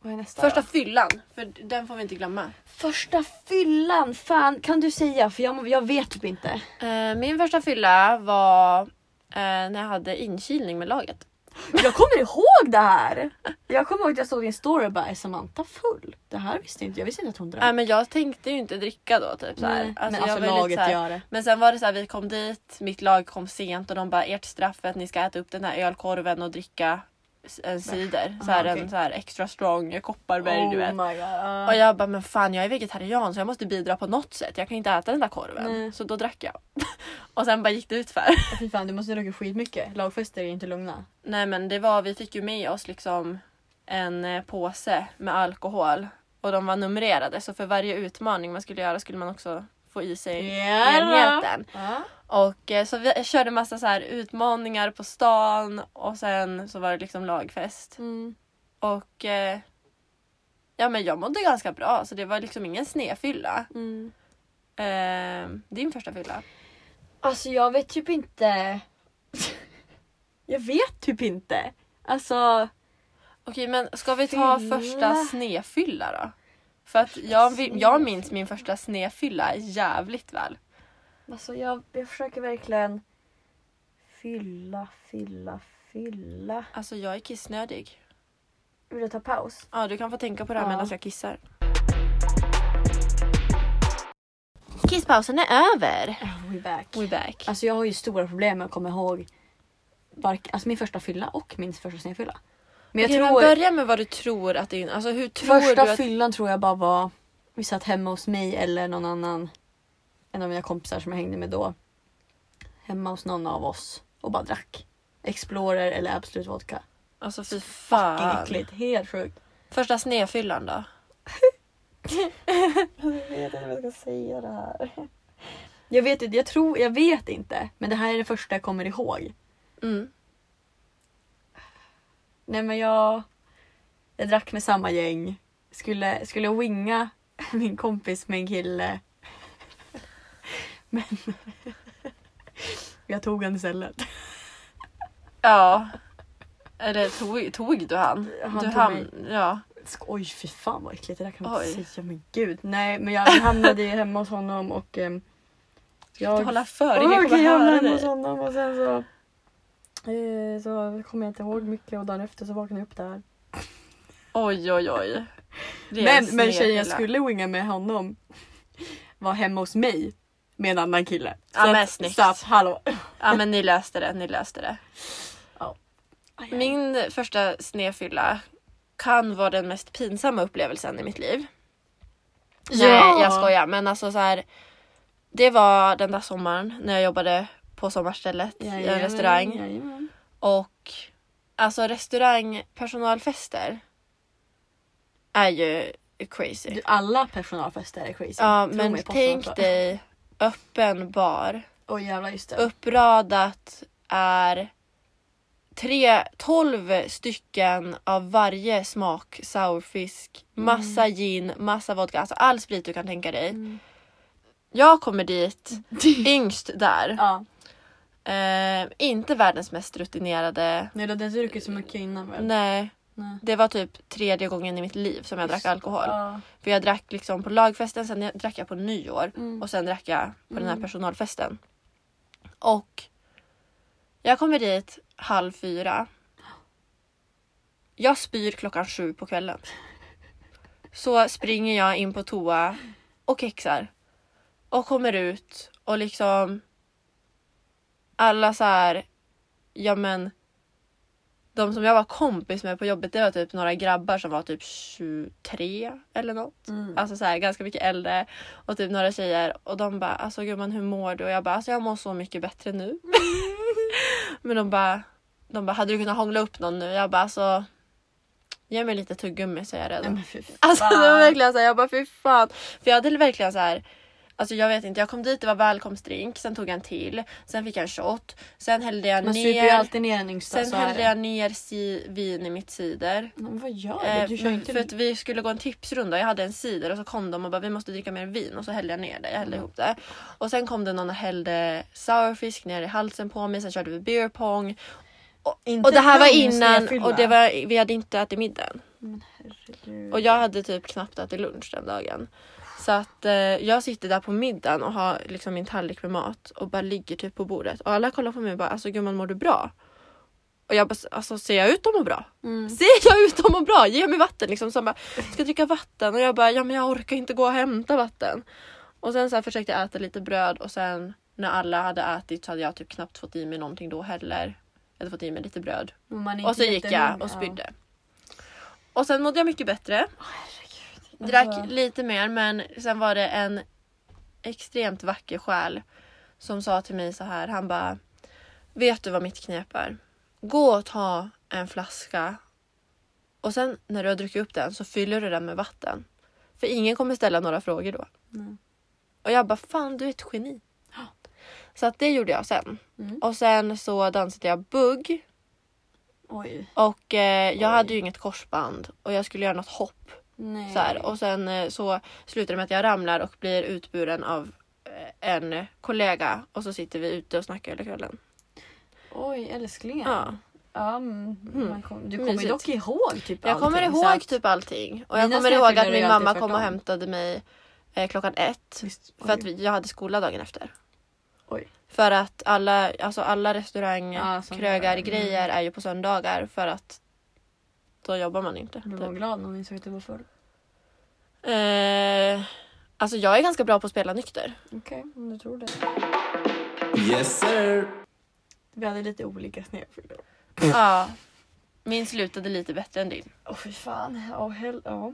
B: Vad är nästa
A: Första
B: då?
A: fyllan, för den får vi inte glömma.
B: första fyllan! Fan, kan du säga? För jag, jag vet typ inte.
A: Eh, min första fylla var eh, när jag hade inkilning med laget.
B: Jag kommer ihåg det här! Jag kommer ihåg att jag såg din story och bara, är Samantha full? Det här visste jag inte jag. visste inte att hon drack.
A: Nej men jag tänkte ju inte dricka då. Typ, så
B: Nej,
A: här.
B: men alltså
A: var ju lite
B: laget
A: så här-
B: gör det.
A: Men sen var det så här, vi kom dit, mitt lag kom sent och de bara ert straff är att ni ska äta upp den här ölkorven och dricka s- en cider. Så här,
B: Aha, okej. Oh
A: En så här extra strong Kopparberg du vet.
B: my god. ja.
A: Och jag bara men fan jag är vegetarian så jag måste bidra på något sätt. Jag kan inte äta den där korven.
B: Nej.
A: Så då drack jag. och sen bara gick det ut för.
B: Fy fan, du måste ha druckit skitmycket. Lagfester är inte lugna.
A: Nej men det var, vi fick ju med oss liksom en eh, påse med alkohol och de var numrerade så för varje utmaning man skulle göra skulle man också få i sig
B: Ja.
A: enheten.
B: Ja.
A: Och eh, så vi jag körde massa så här utmaningar på stan och sen så var det liksom lagfest.
B: Mm.
A: Och eh, ja men jag mådde ganska bra så det var liksom ingen snefylla.
B: Mm.
A: Eh, din första fylla?
B: Alltså jag vet typ inte. jag vet typ inte. Alltså,
A: Okej men ska vi ta
B: Fylla.
A: första snefylla då? För att jag, vi- jag minns min första snefylla jävligt väl.
B: alltså jag, jag försöker verkligen fylla, fylla, fylla.
A: Alltså jag är kissnödig.
B: Vill du ta paus?
A: Ja du kan få tänka på det här
B: Ja.
A: medan jag kissar. Kisspausen är över.
B: We back.
A: We back.
B: Alltså jag har ju stora problem med att komma ihåg varken, alltså min första fylla och min första snedfylla. Men jag
A: Okej, men
B: tror
A: börja med vad du tror att din... Alltså hur tror
B: första
A: du att...
B: fyllan tror jag bara var vi satt hemma hos mig eller någon annan. En av mina kompisar som jag hängde med då. Hemma hos någon av oss och bara drack. Explorer eller Absolut Vodka.
A: Alltså fy
B: Fucking
A: fan.
B: äckligt. Helt sjukt.
A: Första snefyllan då?
B: Jag vet inte vad jag ska säga det här. Jag vet inte, jag tror, jag vet inte. Men det här är det första jag kommer ihåg.
A: Mm.
B: Nej men jag... Jag drack med samma gäng. Skulle, skulle winga min kompis med en kille. Men... Jag tog han istället.
A: Ja. Eller tog, tog du han?
B: Han
A: du
B: tog
A: Ja.
B: Sk- Oj fy fan vad äckligt, det där kan man
A: Oj.
B: inte säga. Men gud. Nej men jag hamnade ju hemma hos honom och... ehm,
A: Jag... Du hålla för, ingen
B: Okej,
A: kommer
B: jag
A: höra
B: hamnade hos
A: dig.
B: honom och sen så... eh, Så kommer jag inte ihåg mycket och dagen efter så vaknade jag upp där.
A: Oj oj oj. Ren
B: Men, men tjejen jag
A: snefylla.
B: skulle winga med honom var hemma hos mig med en annan kille. Så
A: Ja, men
B: att-
A: snyggt.
B: Så att, hallå.
A: Ja men ni löste det, ni löste det.
B: Min...
A: Min första snefylla kan vara den mest pinsamma upplevelsen i mitt liv.
B: Ja!
A: Nej jag skojar men alltså så här. Det var den där sommaren när jag jobbade på sommarstället i en eh, restaurang.
B: Jajamän.
A: Och alltså restaurangpersonalfester är ju crazy.
B: Du, alla personalfester är crazy.
A: ja
B: Tro
A: men
B: mig, påstå inte.
A: tänk dig öppen bar.
B: Oj jävlar just det.
A: uppradat är tre, 12 stycken av varje smak sourfisk, massa gin, massa vodka, alltså all sprit du kan tänka dig. Jag kommer dit yngst där.
B: Ja.
A: Eh, inte världens mest rutinerade.
B: Nej, du hade ens druckit så mycket innan väl?
A: Nej,
B: Nej.
A: det var typ tredje gången i mitt liv som jag drack alkohol.
B: Ja.
A: För jag drack liksom på lagfesten, sen jag- drack jag på nyår
B: Mm.
A: och sen drack jag på den här
B: Mm.
A: personalfesten. Och jag kommer dit halv fyra. Jag spyr klockan sju på kvällen. Så springer jag in på toa och kexar. Och kommer ut och liksom alla så här, ja men de som jag var kompis med på jobbet det var typ några grabbar som var typ 23 eller något.
B: Mm.
A: Alltså så här, ganska mycket äldre och typ några tjejer och de bara alltså gumman hur mår du? Och jag bara alltså jag mår så mycket bättre nu. Men de bara, de bara hade du kunnat hångla upp någon nu? Jag bara alltså ge mig lite tuggummi så är jag
B: Nej,
A: redan.
B: men fy fan.
A: Alltså det var verkligen så här, jag bara fy fan. För jag hade verkligen så här. Alltså jag vet inte, jag kom dit det var välkomstdrink, sen tog jag en till, sen fick jag en shot, sen hällde jag
B: Man super ju
A: ner.
B: alltid ner den yngsta.
A: Sen
B: så är
A: hällde
B: det.
A: jag ner si, vin i mitt cider.
B: Nej, Men vad gör du?
A: Eh,
B: du kör
A: men
B: inte...
A: För att vi skulle gå en tipsrunda. Jag hade en cider och så kom de och bara vi måste dricka mer vin och så hällde jag ner det. Jag hällde
B: Mm.
A: ihop det. Och sen kom det någon och hällde sourfisk ner i halsen på mig. Sen körde vi beer pong.
B: Inte
A: Och det här var
B: lugn,
A: innan
B: snedfylla.
A: och det var, vi hade inte ätit middagen.
B: Herregud.
A: Och jag hade typ knappt ätit lunch den dagen. Så att eh, jag sitter där på middagen och har liksom min tallrik med mat och bara ligger typ på bordet. Och alla kollar på mig och bara alltså gumman mår du bra? Och jag bara alltså ser jag ut att må bra?
B: Mm.
A: Ser jag ut att må bra? Ge mig vatten liksom. Så han bara ska jag dricka vatten? Och jag bara ja men jag orkar inte gå och hämta vatten. Och sen så här försökte jag äta lite bröd och sen när alla hade ätit så hade jag typ knappt fått i mig någonting då heller. Jag hade fått i mig lite bröd.
B: Men man är
A: Och så
B: inte
A: gick jag
B: jättelugn,
A: och
B: ja.
A: spydde. Och sen mådde jag mycket bättre.
B: Alltså-
A: Drack lite mer men sen var det en extremt vacker själ som sa till mig så här. Han bara. Vet du vad mitt knep är? Gå och ta en flaska och sen när du har druckit upp den så fyller du den med vatten. För ingen kommer ställa några frågor då.
B: Nej.
A: Och jag bara fan du är ett geni. Så att det gjorde jag sen.
B: Mm.
A: Och sen så dansade jag bugg.
B: Oj.
A: Och eh, jag
B: Oj.
A: hade ju inget korsband och jag skulle göra något hopp.
B: Nej.
A: Så här. Och sen eh, så slutar det med att jag ramlar och blir utburen av eh, en kollega och så sitter vi ute och snackar hela kvällen.
B: Oj, älsklingen.
A: Ja.
B: Ja, mm, man kom, du kommer ju
A: Mysigt.
B: dock ihåg typ
A: Jag kommer
B: allting, så
A: ihåg
B: att-
A: typ allting och jag
B: Mina
A: kommer
B: snöflingor
A: ihåg att
B: är
A: min
B: ju alltid
A: mamma kom och
B: tvärtom.
A: hämtade mig eh, klockan ett
B: Visst,
A: för att vi, jag hade skola dagen efter.
B: Oj.
A: För att alla, alltså alla restaurang,
B: Ja, som- Mm.
A: krögar, grejer är ju på söndagar för att då jobbar man inte.
B: Du
A: typ.
B: var glad när hon insåg att du var full.
A: Eh, alltså jag är ganska bra på att spela nykter.
B: Okej, om du tror det.
C: Yes sir!
B: Vi hade lite olika snedfyllor.
A: Ja. Min slutade lite bättre än din.
B: Åh fy fan. Åh hell... Ja.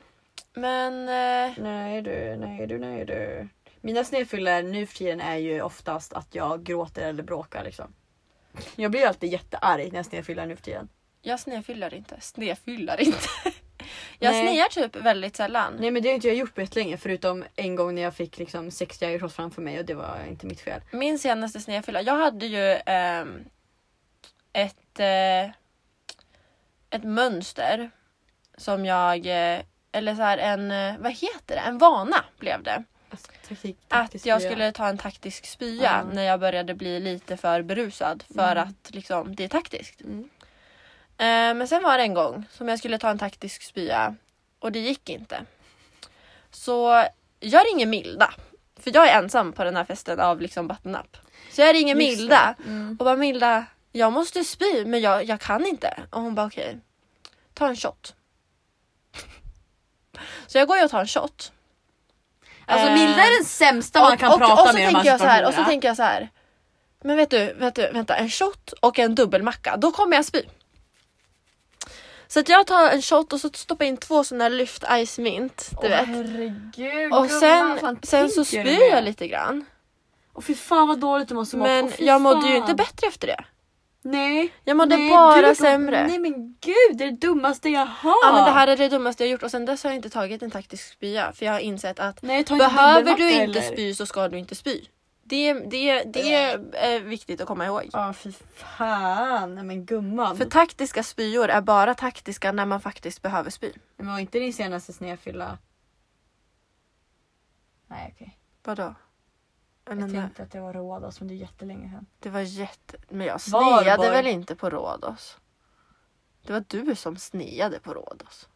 A: Men eh,
B: Nej du, nej du, nej du. Mina snedfyllor nu för tiden är ju oftast att jag gråter eller bråkar liksom. Jag blir alltid jättearg när jag snedfyllar nu för tiden.
A: jag snefyllar inte. Snefyllar inte. Jag
B: Nej.
A: snear typ väldigt sällan.
B: Nej men det har inte jag gjort på länge förutom en gång när jag fick liksom 60 jägershot framför mig och det var inte mitt fel.
A: Min senaste snefylla. Jag hade ju ehm, ett, eh, ett mönster som jag... eh, eller så här en... eh, Vad heter det? En vana blev det.
B: Alltså, taktik,
A: att
B: taktisk
A: jag
B: spya.
A: skulle ta en taktisk spya
B: Ja.
A: när jag började bli lite för berusad för
B: Mm.
A: att liksom, det är taktiskt.
B: Mm.
A: Eh, men sen var det en gång som jag skulle ta en taktisk spya och det gick inte. Så jag ringer Milda. För jag är ensam på den här festen av liksom button up. Så jag ringer
B: Just det.
A: Milda
B: Mm.
A: och bara Milda, jag måste spy men jag, jag kan inte. Och hon bara okej, ta en shot. Så jag går ju och tar en shot.
B: Alltså
A: Eh,
B: Milda är den sämsta man kan
A: och,
B: prata
A: och så
B: med i de
A: tänker jag så här, Och så
B: situationerna.
A: tänker jag så här. Men vet du, vet du, vänta, en shot och en dubbelmacka, då kommer jag spy. Så att jag tar en shot och så stoppar jag in två sådana lyft ice mint, du
B: Åh,
A: vet.
B: Herregud,
A: Och
B: gumman,
A: sen,
B: fan,
A: sen så
B: tänker du
A: spyr
B: med?
A: jag lite grann.
B: Och fy fan vad dåligt du måste ha mått.
A: Men
B: Åh, fy
A: jag mådde ju
B: fan.
A: inte bättre efter det.
B: Nej.
A: Jag mådde
B: Nej,
A: bara
B: du-
A: sämre.
B: Nej men gud, det är det dummaste jag har.
A: Ja men det här är det dummaste jag gjort och sen dess har jag inte tagit en taktisk spya för jag har insett att
B: Nej, ta inte
A: behöver
B: dubbelvakter
A: du inte
B: heller.
A: spy så ska du inte spy. Det, det, det är viktigt att komma ihåg.
B: Ja fy fan. Nej men gumman.
A: För taktiska spyor är bara taktiska när man faktiskt behöver spy.
B: Men var inte din senaste snedfylla... Nej okej.
A: Vadå? Men
B: Jag
A: det,
B: tänkte att det var Rhodos men det är jättelänge sedan.
A: det var jätte... Men jag
B: Valborg.
A: sneade väl inte på Rhodos? Det var du som sneade på Rhodos.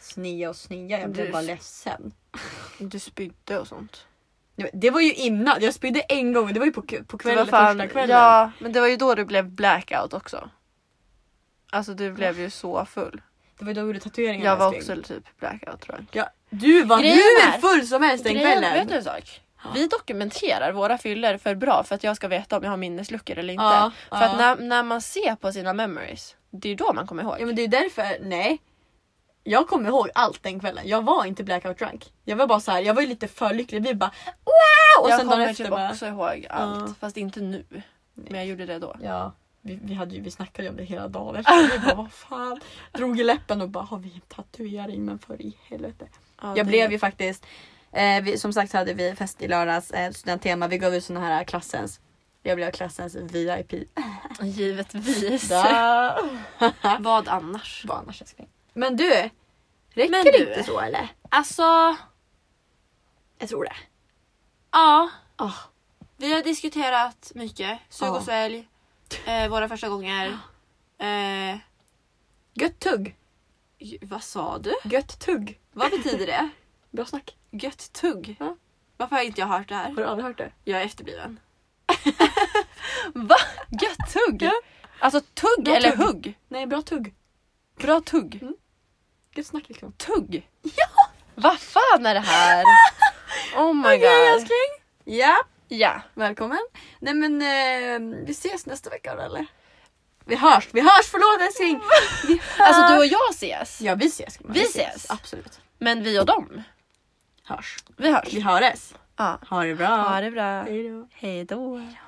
B: Snia och snia, jag blev
A: Du-
B: bara ledsen.
A: Du spydde och sånt.
B: Nej, men Det var ju innan, jag spydde en gång och det var ju på, k- på
A: Det
B: kvällen,
A: var fan,
B: första kvällen.
A: ja, men det var ju då du blev blackout också. Alltså du blev ju så full.
B: Det var ju då du gjorde tatueringen.
A: Jag var
B: älskling.
A: också typ blackout tror jag.
B: Ja, du var
A: Grejen
B: hur
A: är-
B: full som helst den
A: Grejen,
B: kvällen.
A: vet du en sak? Vi dokumenterar våra fyller för bra för att jag ska veta om jag har minnesluckor eller inte.
B: Ja,
A: för
B: ja.
A: att när, när man ser på sina memories, det är då man kommer ihåg.
B: Ja men det är ju därför, nej. Jag kommer ihåg allt den kvällen. Jag var inte blackout drunk. Jag var bara så här, jag var ju lite för lycklig. Vi bara wow! Och
A: jag
B: sen dagen
A: kommer
B: efter
A: typ
B: bara.
A: också ihåg allt,
B: Ja.
A: fast inte nu. Men jag gjorde det då.
B: Ja, vi, vi, hade ju, vi snackade ju om det hela dagen efter. Vi bara vad fan. Drog i läppen och bara har vi en tatuering men för i helvete.
A: Ja,
B: Jag
A: det-
B: blev ju faktiskt, eh, vi, som sagt hade vi fest i lördags, eh, studenttema. Vi gav ut såna här klassens. Jag blev klassens VIP.
A: Givetvis.
B: Da.
A: Vad annars?
B: Vad annars älskling. Men du, räcker
A: Men
B: det
A: du.
B: inte så eller?
A: Alltså,
B: Jag tror det.
A: ja.
B: Ah.
A: Vi har diskuterat mycket. Sug
B: Ja.
A: och svälj. Eh, våra första gånger. Eh,
B: Gött tugg.
A: j- vad sa du?
B: Gött tugg.
A: Vad betyder det?
B: Bra snack.
A: Gött tugg.
B: Ja.
A: Varför har inte jag hört det här?
B: Har du aldrig hört det?
A: Jag är efterbliven. Va? Gött tugg?
B: Ja.
A: Alltså tugg
B: Bra
A: eller
B: tugg.
A: hugg?
B: Nej, bra tugg. Mm.
A: Bra tugg.
B: Gött snack liksom.
A: Tugg? Ja! Vad fan är det här? Oh my god.
B: älskling. Ja,
A: Ja.
B: välkommen. Nej men eh, vi ses nästa vecka då eller? Vi hörs, vi hörs, förlåt älskling. Vi hörs.
A: Alltså du och jag ses.
B: Ja vi ses.
A: Vi ses.
B: Absolut.
A: Men vi och dem.
B: Hörs.
A: Vi hörs.
B: Vi höres.
A: Ja.
B: Ha det bra.
A: Ha det bra.
B: Hej då.
A: Hej då.